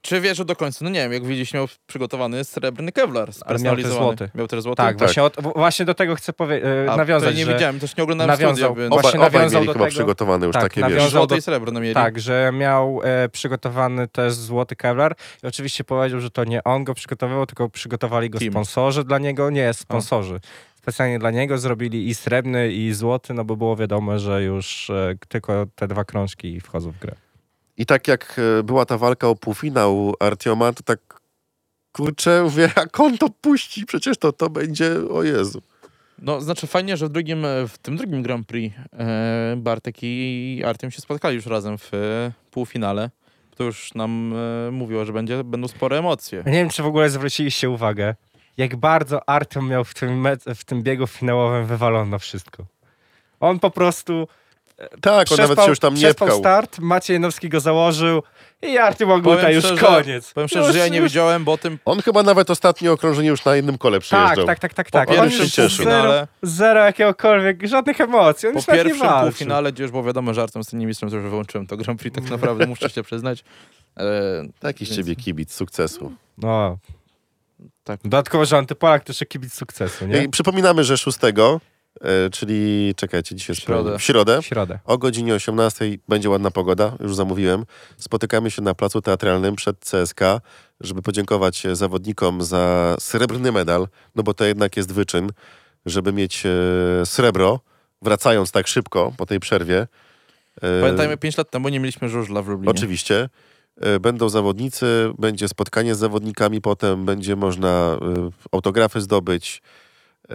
B: czy wierzy do końca? No nie wiem, jak widzieliście, miał przygotowany srebrny kevlar spersonalizowany.
D: złoty.
B: Miał też złoty?
D: Tak, Właśnie, o, w- właśnie do tego chcę powie- e,
B: A,
D: nawiązać,
B: to ja nie
D: że
B: widziałem, też nie oglądałem
D: nawiązał.
B: studia, więc...
D: Oba-
C: Obaj,
D: Właśnie
C: obaj
D: nawiązał
C: mieli
D: do
C: chyba
D: tego-
C: przygotowane już
D: tak,
C: takie,
D: nawiązał-
C: wiesz.
B: Złoty
D: do-
B: i srebrny mieli.
D: tak, że miał e, przygotowany też złoty kevlar i oczywiście powiedział, że to nie on go przygotowywał, tylko przygotowali go
B: Team.
D: sponsorzy dla niego, nie, sponsorzy. Specjalnie dla niego zrobili i srebrny, i złoty, no bo było wiadomo, że już e, tylko te dwa krążki wchodzą w grę.
C: I tak jak e, była ta walka o półfinał Artioma, to tak kurczę, mówię, jak on to puści, przecież to to będzie, o Jezu.
B: No, znaczy fajnie, że w, drugim, w tym drugim Grand Prix e, Bartek i Artem się spotkali już razem w e, półfinale. To już nam e, mówiło, że będzie, będą spore emocje.
D: Ja Nie wiem, czy w ogóle zwróciliście uwagę, jak bardzo Artem miał w tym, mec- w tym biegu finałowym wywalone wszystko. On po prostu
C: Tak, on
D: przespał,
C: nawet się już tam nie
D: przespał
C: pkał.
D: start, Maciej Nowski go założył i Artem Ogłuta już
B: szczerze-
D: koniec.
B: Powiem szczerze,
D: już,
B: że ja nie
D: już-
B: wiedziałem, bo o tym
C: On chyba nawet ostatnie okrążenie już na jednym kole
D: Tak,
C: przyjeżdżał.
D: tak, tak, tak,
B: Po
D: tak.
C: pierwszym
B: półfinale-
D: zero, zero jakiegokolwiek, żadnych emocji, on
B: po
D: już nawet nie
B: pierwszym
D: walczył.
B: półfinale, gdzie już było wiadomo, że Artem z tym mistrzem, to już wyłączyłem to Grand Prix,
D: Mm.
B: tak naprawdę muszę się przyznać. E,
C: Taki z ciebie kibic sukcesu.
D: No,
B: Tak.
D: dodatkowo, że Antypolak też kibic sukcesu, nie?
C: I przypominamy, że 6, e, czyli czekajcie, dzisiaj w
B: środę.
C: środę. w środę
D: W środę.
C: o godzinie 18 będzie ładna pogoda, już zamówiłem. Spotykamy się na placu teatralnym przed CSK, żeby podziękować e, zawodnikom za srebrny medal, no bo to jednak jest wyczyn, żeby mieć e, srebro, wracając tak szybko po tej przerwie. E,
B: pamiętajmy, 5 lat temu nie mieliśmy żużla w Lublinie.
C: Oczywiście. E, Będą zawodnicy, będzie spotkanie z zawodnikami, potem będzie można e, autografy zdobyć. E,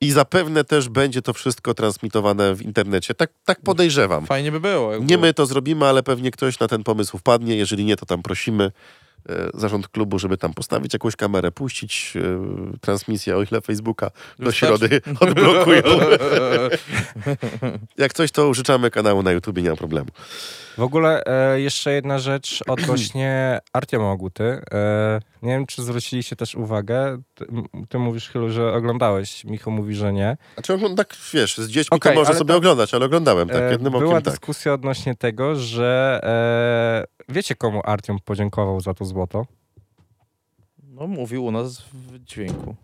C: I zapewne też będzie to wszystko transmitowane w internecie. Tak, tak podejrzewam.
B: Fajnie by było. jakby-
C: Nie my to zrobimy, ale pewnie ktoś na ten pomysł wpadnie. Jeżeli nie, to tam prosimy, e, zarząd klubu, żeby tam postawić jakąś kamerę, puścić e, transmisję o ile Facebooka do
B: Wystarczy. <laughs>
C: środy odblokują. Jak coś, to użyczamy kanału na YouTube, nie ma problemu.
D: W ogóle e, jeszcze jedna rzecz <clears throat> odnośnie Artioma Oguty. E, nie wiem, czy zwróciliście też uwagę. Ty, m- ty mówisz, Chylu, że oglądałeś. Michu mówi, że nie.
C: Znaczy, ogląd- tak wiesz, z dziećmi
D: Okej,
C: to można
D: ale
C: sobie oglądać, ale oglądałem tak,
D: E,
C: jednym
D: Była
C: okiem tak.
D: dyskusja odnośnie tego, że e, wiecie, komu Artiom podziękował za to złoto?
B: No mówił u nas w dźwięku.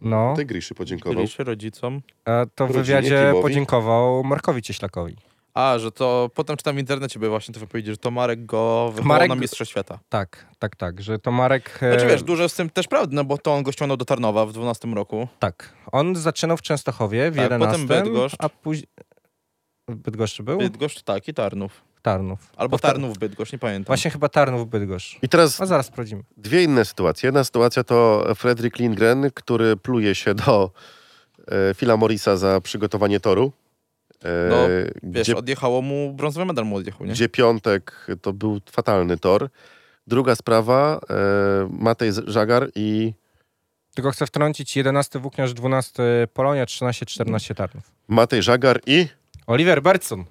D: No,
C: Tej Griszy podziękował.
B: Byliście rodzicom.
D: e, to w
C: rodzinie
D: wywiadzie
C: Timowi?
D: podziękował Markowi Cieślakowi.
B: A, że to potem czytam w internecie, by właśnie to wypowiedzi, że to Marek go wychował
D: Marek
B: na
D: go-
B: Mistrza Świata.
D: Tak, tak, tak, że to Marek... e,
B: Znaczy wiesz, dużo z tym też prawdy, no bo to on go ściągnął do Tarnowa w 12 roku.
D: Tak, on zaczynał w Częstochowie w
B: Tak,
D: 11,
B: potem Bydgoszcz.
D: a później... W Bydgoszczy był?
B: Bydgoszcz tak i Tarnów.
D: Tarnów.
B: Albo
D: Powtar-
B: Tarnów, Bydgoszcz, nie pamiętam.
D: Właśnie chyba Tarnów Bydgoszcz.
C: I teraz
D: A zaraz sprawdzimy.
C: dwie inne sytuacje. Jedna sytuacja to Fredrik Lindgren, który pluje się do e, Phila Morrisa za przygotowanie toru. E,
B: No, Wiesz,
C: gdzie,
B: odjechało mu, brązowy medal mu odjechał, nie?
C: gdzie piątek to był fatalny tor. Druga sprawa, e, Matej Żagar i
D: Tylko chcę wtrącić 11 Włókniarz, 12 Polonia, 13, 14 Tarnów.
C: Matej Żagar i
D: Oliver Bertson.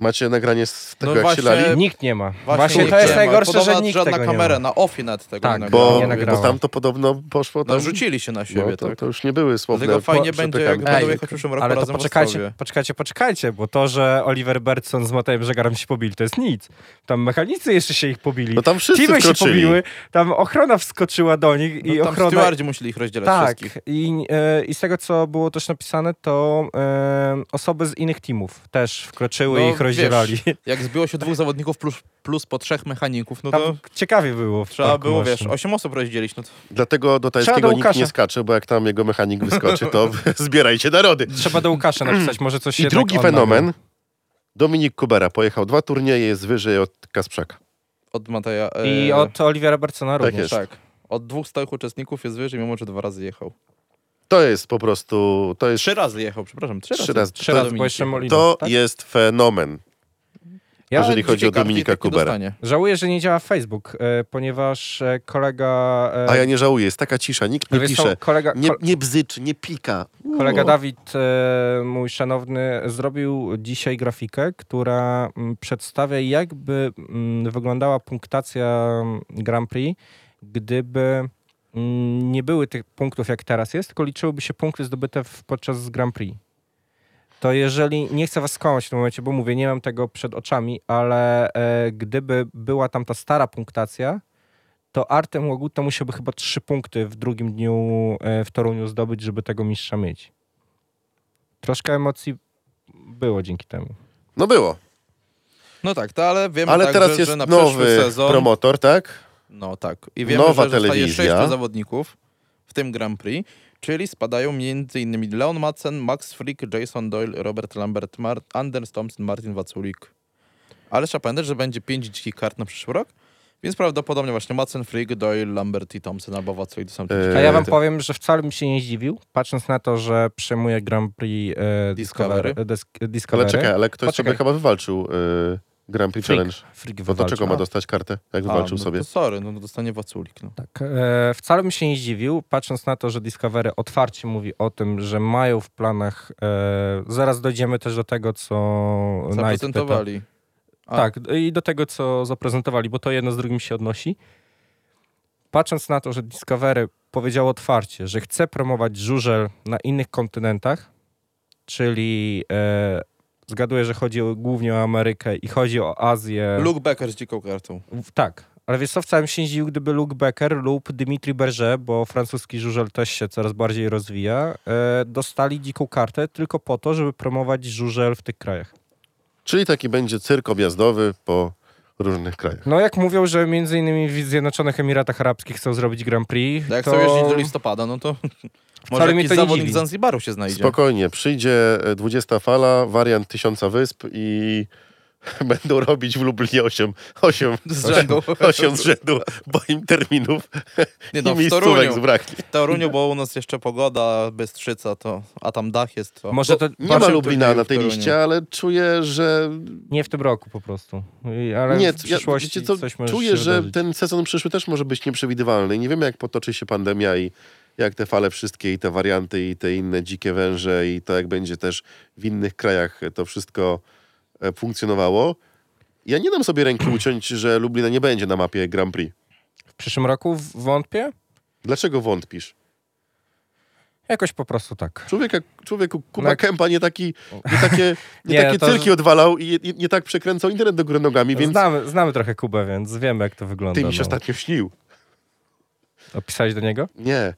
C: macie nagranie z tego,
B: No
C: jak
B: właśnie,
C: się lali?
B: E,
D: Nikt nie ma. Właśnie,
B: nikt
D: to jest
B: nie ma.
D: najgorsze,
B: Podobno
D: że nikt
B: żadna
D: tego
B: kamera
D: nie ma.
B: na ofi nawet tego
D: Tak,
B: nie nagrała.
C: Bo,
D: nie
C: bo
D: nagrała.
C: tam to podobno poszło tam.
B: No, rzucili się na siebie,
C: no, to,
B: tak.
C: to już nie były słowne
B: Dlatego fajnie
C: po-
B: będzie, jak
C: przepychanki.
B: będą
D: Ej,
B: jechać w przyszłym roku
D: Ale to
B: razem w
D: poczekajcie,
B: Ostrowie.
D: poczekajcie, poczekajcie, bo to, że Oliver Bertson z Matejem Żegarem się pobili, to jest nic. Tam mechanicy jeszcze się ich pobili.
C: No tam wszyscy
D: Teamy się
C: wkroczyli.
D: pobiły, tam ochrona wskoczyła do nich i
B: No, tam
D: ochrona...
B: stewardzi musieli ich rozdzielać
D: Tak,
B: wszystkich.
D: i, e, i z tego, co było też napisane, to e, osoby z innych teamów też wkroczyły i
B: No,
D: ich rozdzielali.
B: Wiesz, jak zbiło się dwóch zawodników plus, plus po trzech mechaników, no
D: Tam
B: to
D: ciekawie było. w
B: trzeba
C: Tak,
D: parku
B: było, wiesz,
D: maszyn.
B: osiem osób rozdzielić. No to
C: Dlatego do
D: Trzeba
C: tajskiego
D: do
C: nikt nie
D: Łukasza.
C: skacze, bo jak tam jego mechanik wyskoczy,
B: <laughs>
C: to zbierajcie narody.
D: Trzeba do Łukasza napisać, może coś
C: I
D: jednak
C: drugi
D: on
C: fenomen.
D: nagrał.
C: Dominik Kubera pojechał dwa turnieje, jest wyżej od Kasprzaka.
B: od Mateja... e,
D: I od Olivera Bertsona
C: Tak
D: również.
C: jest.
B: Tak. Od dwóch stałych uczestników jest wyżej, mimo że dwa razy jechał.
C: To jest po prostu, to jest,
B: Trzy razy jechał, przepraszam. Trzy,
C: Trzy razy.
B: razy.
D: Trzy razy,
B: Dominik
D: bo jeszcze
B: jechał.
D: Molina.
C: to
D: tak?
C: jest fenomen.
D: Ja
C: jeżeli chodzi o
B: Dzikiej karty
C: Dominika
B: tak nie
C: Kubera.
B: dostanie.
D: Żałuję, że nie działa Facebook, e, ponieważ e, kolega... E,
C: A
B: Tak.
C: ja nie żałuję, jest taka cisza, nikt
B: No
C: nie
D: wiesz co,
C: pisze.
D: Kolega,
C: Nie,
D: kol-
C: nie bzyczy, nie pika.
D: Kolega
C: No.
D: Dawid, e, mój szanowny, zrobił dzisiaj grafikę, która mm, przedstawia, jakby mm, wyglądała punktacja Grand Prix, gdyby mm, nie były tych punktów, jak teraz jest, tylko liczyłyby się punkty zdobyte w, podczas Grand Prix. To jeżeli, nie chcę was skłamać w tym momencie, bo mówię, nie mam tego przed oczami, ale e, gdyby była tam ta stara punktacja, to Artem Łaguta musiałby chyba trzy punkty w drugim dniu e, w Toruniu zdobyć, żeby tego mistrza mieć. Troszkę emocji było dzięki temu.
C: No było,
B: No tak, to ale wiemy
C: ale
B: także,
C: teraz jest
B: że na
C: nowy
B: przyszły sezon...
C: promotor, tak?
B: No tak. I wiemy,
C: Nowa
B: że zostaje
C: telewizja.
B: sześciu zawodników w tym Grand Prix, czyli spadają m.in. Leon Madsen, Max Frick, Jason Doyle, Robert Lambert, Mar Anders Thompson, Martin Waculik. Ale trzeba pamiętać, że będzie pięć dzikich kart na przyszły rok, więc prawdopodobnie właśnie Madsen, Frick, Doyle, Lambert i Thompson albo Waculik to są te
C: Eee,
B: dzikie
D: A ja wam
B: karty.
D: powiem, że wcale bym się nie zdziwił, patrząc na to, że przejmuje Grand Prix e,
B: Discovery.
D: Discovery. e, desk- e,
C: Ale
D: Discovery.
C: czekaj, ale ktoś
D: Poczekaj.
C: sobie chyba wywalczył y, Grand Prix Challenge.
D: Freak
C: Bo do
D: wywalczył.
C: czego ma dostać kartę, jak wywalczył
B: A, no
C: sobie?
B: To sorry, no dostanie Waculik. No.
D: Tak. E, wcale bym się nie zdziwił, patrząc na to, że Discovery otwarcie mówi o tym, że mają w planach. E, zaraz dojdziemy też do tego, co Knight pyta.
B: Zaprezentowali. A.
D: Tak, i do tego, co zaprezentowali, bo to jedno z drugim się odnosi. Patrząc na to, że Discovery powiedziało otwarcie, że chce promować żużel na innych kontynentach, czyli e, zgaduję, że chodzi o, głównie o Amerykę i chodzi o Azję.
B: Luke Becker z dziką kartą.
D: W- Tak, ale wiesz co, wcale bym się nie dziwił, gdyby Luke Becker lub Dimitri Berger, bo francuski żużel też się coraz bardziej rozwija, e, dostali dziką kartę tylko po to, żeby promować żużel w tych krajach.
C: Czyli taki będzie cyrk objazdowy po różnych krajach.
D: No jak mówią, że między innymi w Zjednoczonych Emiratach Arabskich chcą zrobić Grand
C: Tak,
D: Prix,
B: No Jak
D: to...
B: chcą jeździć do listopada, no to może
D: Wcale mnie
B: jakiś
D: to nie
B: zawodnik
D: dziwi.
B: z Zanzibaru się znajdzie.
C: Spokojnie, przyjdzie e, 20 fala, wariant tysiąca wysp i <laughs> będą robić w Lublinie 8, 8,
B: <laughs> Z
C: <laughs>
B: rzędu.
C: 8 z rzędu, bo im terminów
B: Nie
C: i
B: no, w
C: miejscówek
B: Toruniu.
C: zbraknie.
B: W Toruniu, bo u nas jeszcze pogoda, Bystrzyca, to, a tam dach jest. To.
D: Może to
C: Nie
B: Patrzę w
C: ma Lublina
B: turnieju
C: na
B: w
C: tej
B: Toruniu.
C: liście, ale czuję, że...
D: nie w tym roku po prostu. I- Ale
C: nie,
D: w
C: ja,
D: przyszłości
C: wiecie co,
D: coś może się
C: czuję, że
D: wydarzyć.
C: ten sezon przyszły też może być nieprzewidywalny. i Nie wiemy, jak potoczy się pandemia i jak te fale wszystkie i te warianty i te inne dzikie węże i to, jak będzie też w innych krajach to wszystko e, funkcjonowało. Ja nie dam sobie ręki uciąć, <clears throat> że Lublina nie będzie na mapie Grand Prix.
D: W przyszłym roku w- wątpię?
C: Dlaczego wątpisz?
D: Jakoś po prostu tak.
C: Człowieka, człowieku, Kuba
D: No jak-
C: Kępa nie, taki, nie
D: <laughs>
C: takie, nie
D: Nie,
C: takie
D: to-
C: cyrki odwalał i nie, nie tak przekręcał internet do góry nogami, więc
D: Znamy, znamy trochę Kubę, więc wiemy jak to wygląda.
C: ty mi się
D: no.
C: ostatnio śnił.
D: Opisałeś do niego?
C: Nie.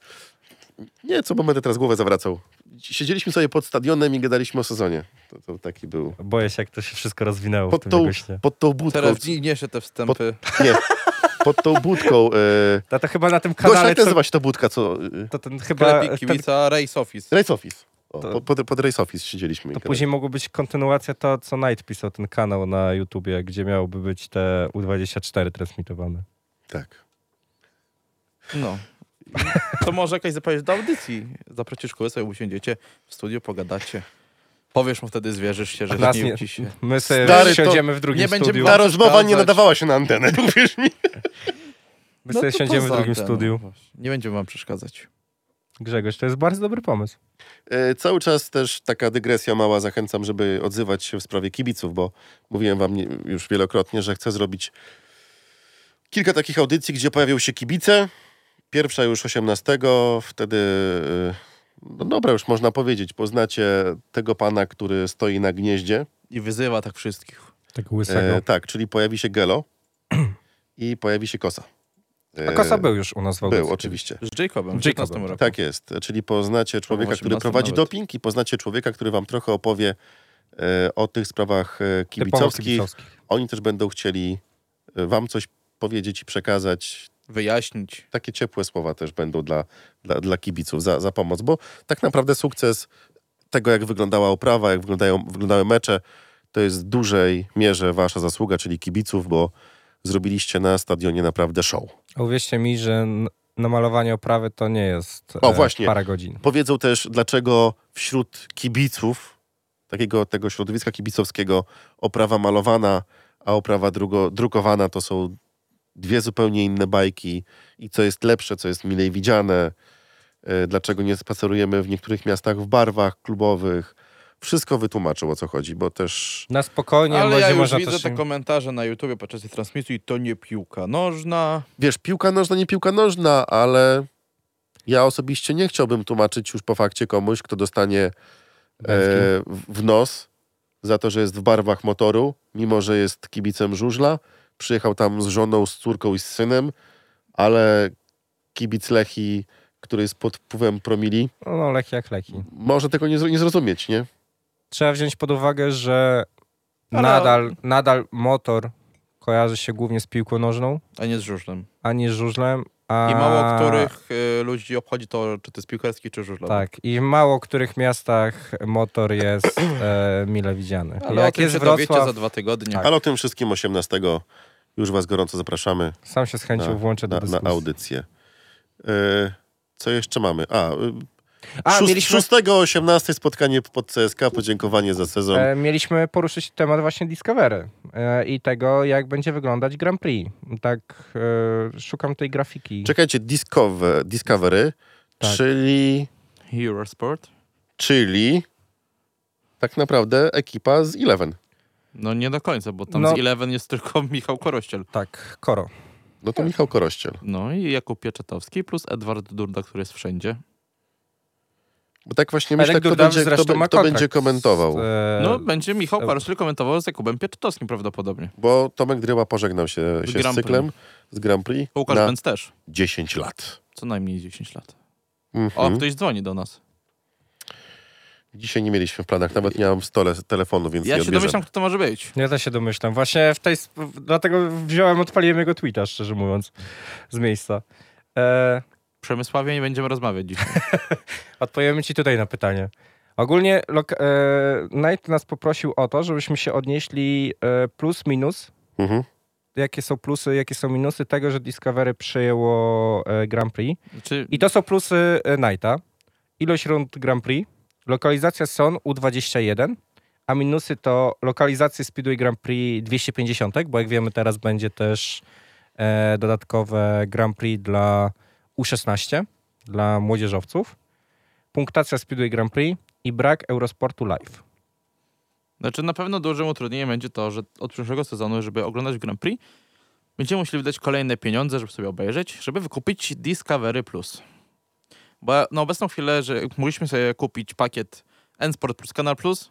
C: Nie, co bo będę teraz głowę zawracał. Siedzieliśmy sobie pod stadionem i gadaliśmy o sezonie. To, to taki był.
D: Boję się, jak to się wszystko rozwinęło w
C: Pod
D: tym
C: tą,
D: jego śnie.
C: pod tą budką.
B: Teraz niesie te wstępy.
C: <laughs> Nie, pod tą budką. E...
D: A to chyba na tym
C: Gosia,
D: kanale...
C: jak
D: co-
C: nazywa się ta budka? Co? E...
D: to ten chyba...
B: Klepik,
D: Ten,
B: kibica, Race Office.
C: Race Office. O,
D: To-
C: po- pod, pod Race Office siedzieliśmy. i
D: to
C: gadaliśmy.
D: później mogło być kontynuacja to, co Knight pisał, ten kanał na YouTubie, gdzie miałoby być te U24 transmitowane.
C: Tak.
B: No. To może jakaś zapowiedź do audycji. Zaprosisz kogoś, sobie usiądziecie w studiu, pogadacie. Powiesz mu wtedy, zwierzysz się, że
D: Nas
B: śnił
D: nie-
B: ci się.
D: My sobie
C: Stary, to
D: siądziemy w drugim
B: nie będziemy
D: studiu.
C: Ta rozmowa nie
B: przeszkadzać.
C: nadawała się na antenę, <laughs> uwierz mi.
D: My sobie
B: No to
D: siądziemy w
B: poza
D: drugim
B: tym,
D: studiu.
B: właśnie. Nie będziemy wam przeszkadzać.
D: Grzegorz, to jest bardzo dobry pomysł.
C: E, Cały czas też taka dygresja mała, zachęcam, żeby odzywać się w sprawie kibiców, bo mówiłem wam nie, już wielokrotnie, że chcę zrobić kilka takich audycji, gdzie pojawią się kibice. Pierwsza już 18, wtedy, e, no dobra, już można powiedzieć, poznacie tego pana, który stoi na gnieździe.
B: I wyzywa tak wszystkich.
D: Tak
C: E, tak, czyli pojawi się
D: <clears throat>
C: Gelo i pojawi się Kosa.
D: A
C: E,
D: Kosa był już u nas w
C: Był,
D: audycji.
C: oczywiście.
B: Z Jacobem w
D: Jacobem,
B: 15 roku.
C: Tak jest. Czyli poznacie człowieka, który
B: 18
C: prowadzi
B: nawet.
C: doping i poznacie człowieka, który wam trochę opowie e, o tych sprawach e,
D: Typowo
C: kibicowskich.
D: kibicowskich.
C: Oni też będą chcieli e, wam coś powiedzieć i przekazać.
B: Wyjaśnić.
C: Takie ciepłe słowa też będą dla, dla, dla kibiców za, za pomoc, bo tak naprawdę sukces tego, jak wyglądała oprawa, jak wyglądają, wyglądały mecze, to jest w dużej mierze wasza zasługa, czyli kibiców, bo zrobiliście na stadionie naprawdę show.
D: A uwierzcie mi, że n- namalowanie oprawy to nie jest
C: O,
D: e,
C: właśnie.
D: parę godzin.
C: Powiedzą też, dlaczego wśród kibiców, takiego tego środowiska kibicowskiego, oprawa malowana, a oprawa drugo, drukowana to są dwie zupełnie inne bajki i co jest lepsze, co jest milej widziane, e, dlaczego nie spacerujemy w niektórych miastach w barwach klubowych. Wszystko wytłumaczył, o co chodzi, bo też
D: Na spokojnie,
B: Ale
D: może
B: ja już
D: można
B: widzę
D: też...
B: te komentarze na YouTubie podczas tej transmisji. To nie piłka nożna.
C: wiesz, piłka nożna, nie piłka nożna, ale ja osobiście nie chciałbym tłumaczyć już po fakcie komuś, kto dostanie e, w- w nos za to, że jest w barwach motoru, mimo że jest kibicem żużla. Przyjechał tam z żoną, z córką i z synem, ale kibic Lechi, który jest pod wpływem promili,
D: No, no leki jak leki.
C: może tego nie, zro- nie zrozumieć, nie?
D: Trzeba wziąć pod uwagę, że
B: Ale-
D: nadal, nadal motor kojarzy się głównie z piłką nożną,
B: A nie z żużlem.
D: a nie z żużlem. A...
B: I mało których y, ludzi obchodzi to, czy to jest piłkarski, czy żużlowy.
D: Tak, i w mało których miastach motor
B: <clears throat>
D: jest e, mile widziany.
B: Ale o
D: jak
B: tym
D: jest
B: się
D: Wrocław,
B: dowiecie za dwa tygodnie.
D: Tak.
C: Ale o tym wszystkim 18 już Was gorąco zapraszamy
D: sam się z chęcią
C: Na-
D: włączę do
C: na, na
D: dyskusji.
C: audycję. E, co jeszcze mamy? A, y,
D: A,
C: Szóst-
D: mieliśmy,
C: 6-18 spotkanie pod CSK, podziękowanie za sezon.
D: e, mieliśmy poruszyć temat właśnie Discovery e, i tego, jak będzie wyglądać Grand Prix. Tak, e, szukam tej grafiki.
C: Czekajcie, Discover, Discovery,
D: Tak.
C: czyli,
B: Eurosport?
C: czyli tak naprawdę ekipa z Eleven.
B: No nie do końca, bo tam
D: No.
B: z Eleven jest tylko <laughs> Michał Korościel.
D: Tak, Koro.
C: No
D: Tak.
C: to Michał Korościel.
B: No i Jakub Pieczetowski plus Edward Durda, który jest wszędzie.
C: Bo tak właśnie
D: Elek
C: myślę, kto
D: Durdaw
C: będzie, kto,
D: zresztą
C: be-
D: ma
C: kto
D: kontrakt
C: będzie komentował.
D: z, e,
B: No będzie Michał
D: e-
B: Korościel komentował z Jakubem Pieczetowskim prawdopodobnie.
C: Bo Tomek Dryła pożegnał się,
B: Z
C: się z
B: Grand Prix.
C: cyklem, z Grand Prix
B: Łukasz
C: na
B: Bęc też.
C: 10 lat.
B: Co najmniej 10 lat. O,
C: Mhm.
B: ktoś dzwoni do nas.
C: Dzisiaj nie mieliśmy w planach, nawet nie mam w stole telefonu, więc nie
B: Ja się
C: odbierzemy.
B: domyślam, kto to może być.
D: Ja też się domyślam. Właśnie w tej. sp- w- Dlatego wziąłem, odpaliłem jego tweeta, szczerze mówiąc, z miejsca. E,
B: Przemysławie nie będziemy rozmawiać dzisiaj.
D: odpowiemy ci tutaj na pytanie. Ogólnie lok- e, Knight nas poprosił o to, żebyśmy się odnieśli e, plus minus,
C: Mhm.
D: jakie są plusy, jakie są minusy tego, że Discovery przyjęło e, Grand Prix. <laughs>
B: Znaczy,
D: I to są plusy e, Knighta. Ilość rund Grand Prix, lokalizacja SON U21, a minusy to lokalizację Speedway Grand Prix 250, bo jak wiemy teraz będzie też e, dodatkowe Grand Prix dla U16, dla młodzieżowców, punktacja Speedway Grand Prix i brak Eurosportu Live.
B: Znaczy na pewno dużym utrudnieniem będzie to, że od przyszłego sezonu, żeby oglądać Grand Prix, będziemy musieli wydać kolejne pieniądze, żeby sobie obejrzeć, żeby wykupić Discovery Plus. Bo na obecną chwilę, że mogliśmy sobie kupić pakiet N-Sport plus Kanal Plus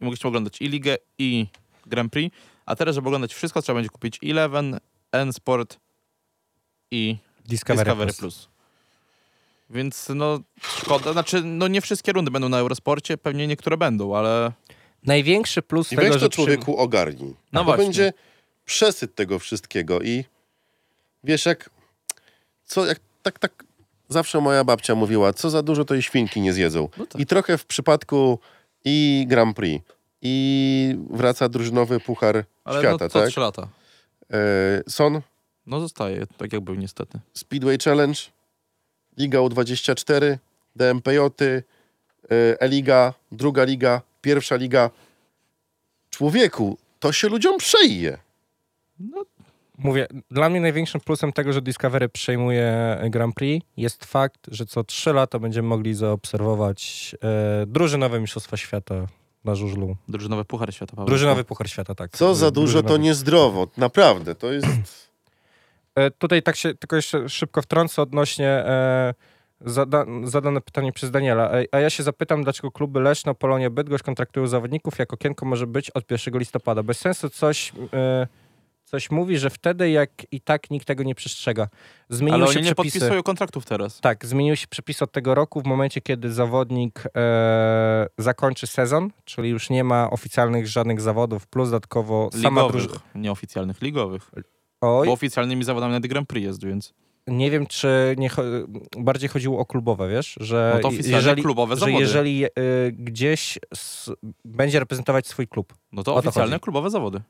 B: i mogliśmy oglądać i Ligę, i Grand Prix, a teraz, żeby oglądać wszystko, trzeba będzie kupić Eleven, N-Sport i
D: Discovery,
B: Discovery Plus. Więc no szkoda, znaczy no nie wszystkie rundy będą na Eurosporcie, pewnie niektóre będą, ale
D: Największy plus
C: I
D: tego,
C: weź to
D: że przy-
C: człowieku ogarnij.
B: No
C: to
B: właśnie.
C: będzie przesyt tego wszystkiego i wiesz jak, co, jak tak, tak zawsze moja babcia mówiła, co za dużo to i świnki nie zjedzą.
B: No tak.
C: I trochę w przypadku i Grand Prix i wraca drużynowy puchar
B: Ale
C: świata,
B: no, co
C: tak?
B: trzy lata.
C: E, Son,
B: No zostaje, tak jak był niestety.
C: Speedway Challenge, Liga U24, DMPJ, y, E-Liga, druga liga, pierwsza liga. Człowieku, to się ludziom przeje.
D: Mówię, dla mnie największym plusem tego, że Discovery przejmuje Grand Prix jest fakt, że co trzy lata będziemy mogli zaobserwować e, drużynowe Mistrzostwa Świata na żużlu.
B: Drużynowy Puchar Świata. Paweł.
D: Drużynowy Puchar Świata, tak.
C: Co za dużo, to
D: Drużynowy.
C: niezdrowo. Naprawdę, to jest... <clears throat>
D: E, tutaj tak się tylko jeszcze szybko wtrącę odnośnie e, zada, zadane pytanie przez Daniela. E, a ja się zapytam, dlaczego kluby Leszno, Polonia, Bydgoszcz kontraktują zawodników, jak okienko może być od 1 listopada. Bez sensu coś... E, Coś mówi, że wtedy, jak i tak nikt tego nie przestrzega. Zmieniły
B: Ale
D: się
B: oni nie
D: przepisy.
B: podpisują kontraktów teraz.
D: Tak, zmieniły się przepisy od tego roku. W momencie, kiedy zawodnik e, zakończy sezon, czyli już nie ma oficjalnych żadnych zawodów, plus dodatkowo sama
B: Ligowych,
D: drużyna.
B: nieoficjalnych ligowych.
D: Oj,
B: Bo oficjalnymi zawodami nawet Grand Prix jest, więc
D: nie wiem, czy nie cho- bardziej chodziło o klubowe, wiesz? Że
B: no to oficjalnie
D: E, jeżeli,
B: klubowe
D: że
B: zawody.
D: jeżeli e, gdzieś s- będzie reprezentować swój klub.
B: No to
D: O to
B: oficjalne
D: chodzi.
B: klubowe zawody.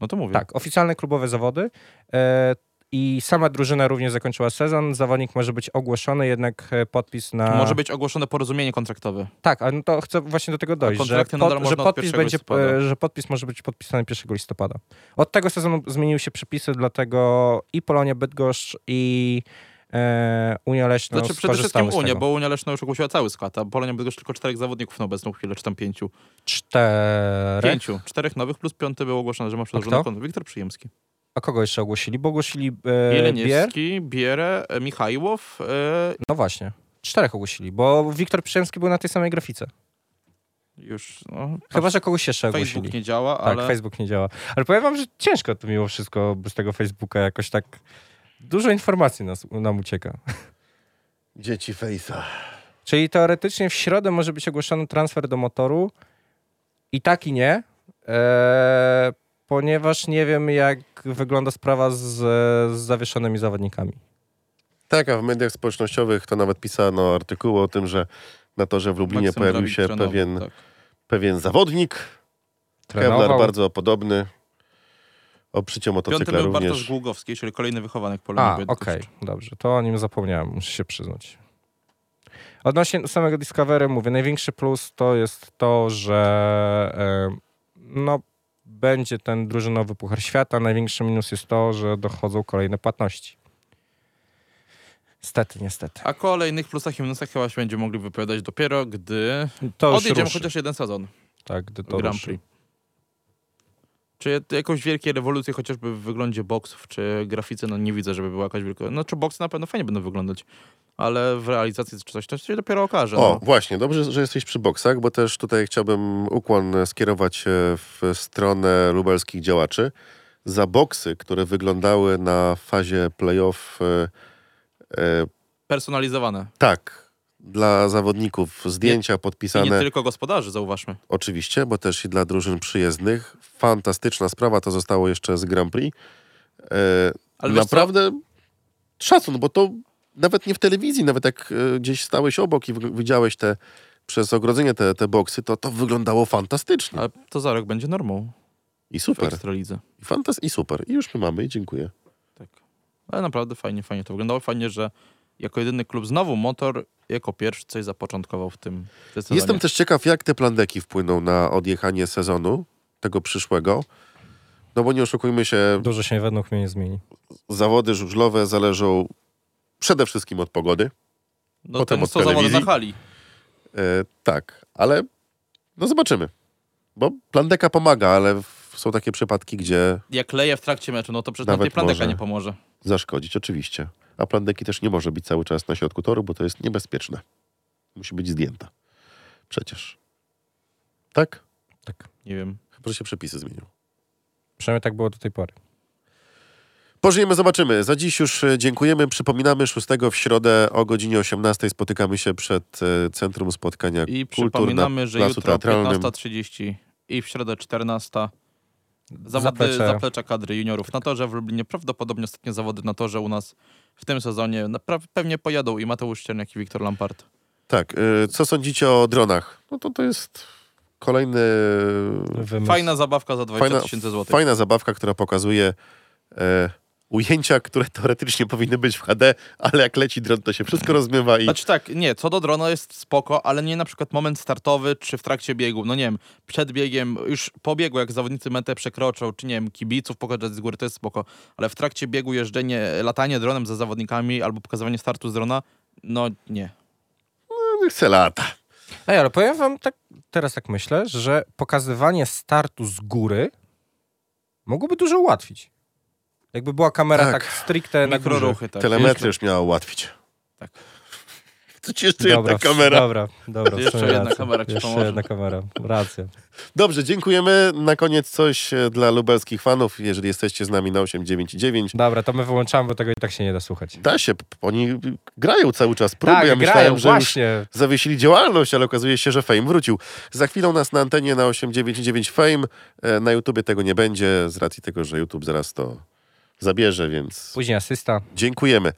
B: No to mówię.
D: Tak, oficjalne klubowe zawody. E, i sama drużyna również zakończyła sezon. Zawodnik może być ogłoszony, jednak e, podpis na.
B: Może być ogłoszone porozumienie kontraktowe.
D: Tak, ale no to chcę właśnie do tego dojść, że,
B: kontrakty nadal
D: pod, że,
B: można od
D: podpis
B: 1
D: będzie,
B: listopada.
D: e, że podpis może być podpisany 1 listopada. Od tego sezonu zmieniły się przepisy, dlatego i Polonia Bydgoszcz i e, Unia Leśna
B: Znaczy przede wszystkim
D: skorzystały z
B: Unia,
D: tego.
B: bo Unia Leszno już ogłosiła cały skład, a Polonia Bydgoszcz tylko czterech zawodników na obecną chwilę, czy tam pięciu.
D: Cztery.
B: Pięciu. Czterech nowych plus piąty był ogłoszony, że ma
D: kto?
B: przedłużony kontrakt. Wiktor Przyjemski.
D: A kogo jeszcze ogłosili? Bo ogłosili e, Bier.
B: Jeleniewski, Bierę, e, Michajłow, e,
D: No właśnie. Czterech ogłosili, bo Wiktor Przyjemski był na tej samej grafice.
B: już no,
D: Chyba, że kogoś jeszcze ogłosili.
B: Facebook nie działa,
D: Tak,
B: ale...
D: Facebook nie działa. Ale powiem wam, że ciężko to mimo wszystko bez tego Facebooka jakoś tak... Dużo informacji nas, nam ucieka.
C: Dzieci Fejsa.
D: Czyli teoretycznie w środę może być ogłoszony transfer do motoru. I tak i nie. Eee, ponieważ nie wiem, jak wygląda sprawa z, z zawieszonymi zawodnikami.
C: Tak, a w mediach społecznościowych to nawet pisano artykuły o tym, że na to, że w Lublinie
B: Maksym
C: pojawił
B: Drawik
C: się
B: trenował,
C: pewien,
B: tak.
C: pewien zawodnik, Kevlar bardzo podobny, o przycie
B: Piątym
C: motocykla
B: był Bartosz
C: również.
B: Gługowski, czyli kolejny wychowanek Polonii
D: A, okej,
B: Bydgoszcz.
D: dobrze. To o nim zapomniałem, muszę się przyznać. Odnośnie samego Discovery mówię, największy plus to jest to, że e, no, będzie ten drużynowy Puchar Świata. Największy minus jest to, że dochodzą kolejne płatności. Stety, niestety.
B: A kolejnych plusach i minusach chyba się będziemy mogli wypowiadać dopiero, gdy
D: To już
B: odjedziemy
D: ruszy.
B: chociaż jeden sezon
D: Tak, gdy to
B: to Grand
D: ruszy.
B: Prix. Czy jakąś wielkiej rewolucji chociażby w wyglądzie boksów, czy grafice, no nie widzę, żeby była jakaś wielka... No czy boksy na pewno fajnie będą wyglądać, ale w realizacji czy coś, to się dopiero okaże.
C: O,
B: No.
C: właśnie, dobrze, że jesteś przy boksach, bo też tutaj chciałbym ukłon skierować e, w stronę lubelskich działaczy. Za boksy, które wyglądały na fazie playoff e, e,
B: Personalizowane.
C: tak, dla zawodników, zdjęcia
B: I
C: podpisane
B: nie tylko gospodarzy, zauważmy.
C: oczywiście, bo też i dla drużyn przyjezdnych. Fantastyczna sprawa, to zostało jeszcze z Grand Prix. E,
B: Ale wiesz co?
C: Naprawdę szacun, bo to nawet nie w telewizji, nawet jak e, gdzieś stałeś obok i w- widziałeś te przez ogrodzenie te, te boksy, to to wyglądało fantastycznie.
B: Ale to za rok będzie normą
C: I
B: w
C: super.
B: Ekstralidze.
C: I fantas i super. I już my mamy i dziękuję.
B: Tak. Ale naprawdę fajnie, fajnie to wyglądało. Fajnie, że jako jedyny klub znowu motor jako pierwszy coś zapoczątkował w tym w tym
C: Jestem
B: sezonie.
C: też ciekaw, jak te plandeki wpłyną na odjechanie sezonu tego przyszłego. No bo nie oszukujmy się,
D: Dużo się według mnie nie zmieni.
C: zawody żużlowe zależą przede wszystkim od pogody.
B: no,
C: potem
B: ten,
C: od
B: co zawody na
C: telewizji.
B: hali.
C: E, tak, ale no zobaczymy. Bo plandeka pomaga, ale w- są takie przypadki, gdzie
B: Jak leje w trakcie meczu, no to przecież
C: Nawet
B: na tej plandeka
C: może.
B: nie pomoże.
C: zaszkodzić, oczywiście. A plandeki też nie może być cały czas na środku toru, bo to jest niebezpieczne. Musi być zdjęta. Przecież. Tak?
D: Tak.
B: Nie wiem.
C: Chyba, że się przepisy zmienią.
D: Przynajmniej tak było do tej pory.
C: Pożyjemy, zobaczymy. Za dziś już e, dziękujemy. Przypominamy, 6 w środę o godzinie 18 spotykamy się przed e, Centrum Spotkania
B: I
C: Kultur
B: przypominamy,
C: na
B: że
C: placu
B: jutro
C: teatralnym.
B: 15.30 i w środę 14.00 zawody
D: Zaplecze.
B: zaplecza. kadry juniorów na torze w Lublinie. Prawdopodobnie ostatnie zawody na torze u nas w tym sezonie. Na- pra- Pewnie pojadą i Mateusz Czerniak i Wiktor Lampart.
C: Tak, e, co sądzicie o dronach? No to to jest kolejny...
D: Wymysł.
B: Fajna zabawka za 20
C: Fajna,
B: tysięcy złotych.
C: fajna zabawka, która pokazuje e, ujęcia, które teoretycznie powinny być w HD, ale jak leci dron, to się wszystko rozmywa i...
B: Znaczy tak, nie, co do drona jest spoko, ale nie na przykład moment startowy czy w trakcie biegu, no nie wiem, przed biegiem, już po biegu jak zawodnicy metę przekroczą, czy nie wiem, kibiców pokazać z góry, to jest spoko, ale w trakcie biegu jeżdżenie, latanie dronem za zawodnikami albo pokazywanie startu z drona, no nie.
C: No, Chce lata.
D: Tak, Ej, ale powiem wam tak, teraz tak myślę, że pokazywanie startu z góry mogłoby dużo ułatwić. Jakby była kamera
C: Tak.
D: tak, stricte na górze.
B: Mikroruchy, tak.
C: Telemetry już miała ułatwić.
B: Tak.
C: To ci jeszcze jedna kamera.
D: Dobra, dobra. w
B: Jeszcze
D: sumie
B: jedna
D: racja.
B: kamera ci
D: Jeszcze
B: pomoże.
D: jedna kamera, racja.
C: Dobrze, dziękujemy. Na koniec coś e, dla lubelskich fanów, jeżeli jesteście z nami na 899.
D: Dobra, to my wyłączamy, bo tego i tak się nie da słuchać.
C: Da się, p- oni grają cały czas próby. ja myślałem,
D: Tak, grają,
C: że już
D: właśnie.
C: zawiesili działalność, ale okazuje się, że Fame wrócił. Za chwilę u nas na antenie na 899 Fame. E, Na YouTubie tego nie będzie, z racji tego, że YouTube zaraz to zabierze, więc
D: Później asysta,
C: dziękujemy.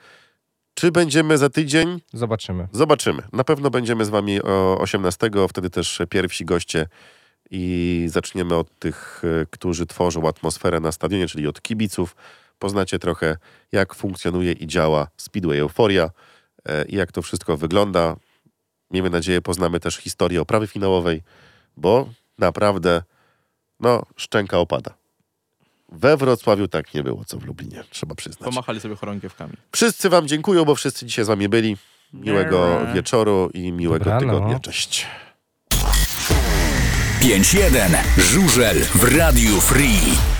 C: Czy będziemy za tydzień?
D: zobaczymy.
C: Zobaczymy. Na pewno będziemy z wami o 18, wtedy też pierwsi goście i zaczniemy od tych, e, którzy tworzą atmosferę na stadionie, czyli od kibiców. Poznacie trochę, jak funkcjonuje i działa Speedway Euforia e, i jak to wszystko wygląda. Miejmy nadzieję, poznamy też historię oprawy finałowej, bo naprawdę, no, szczęka opada. We Wrocławiu tak nie było, co w Lublinie, trzeba przyznać.
B: Pomachali sobie chorągiewkami.
C: Wszyscy Wam dziękują, bo wszyscy dzisiaj z Wami byli. Miłego
B: Dobra.
C: wieczoru i miłego
D: Dobranoc.
C: tygodnia. Cześć.
A: 5-1. Żurzel w Radiu Free.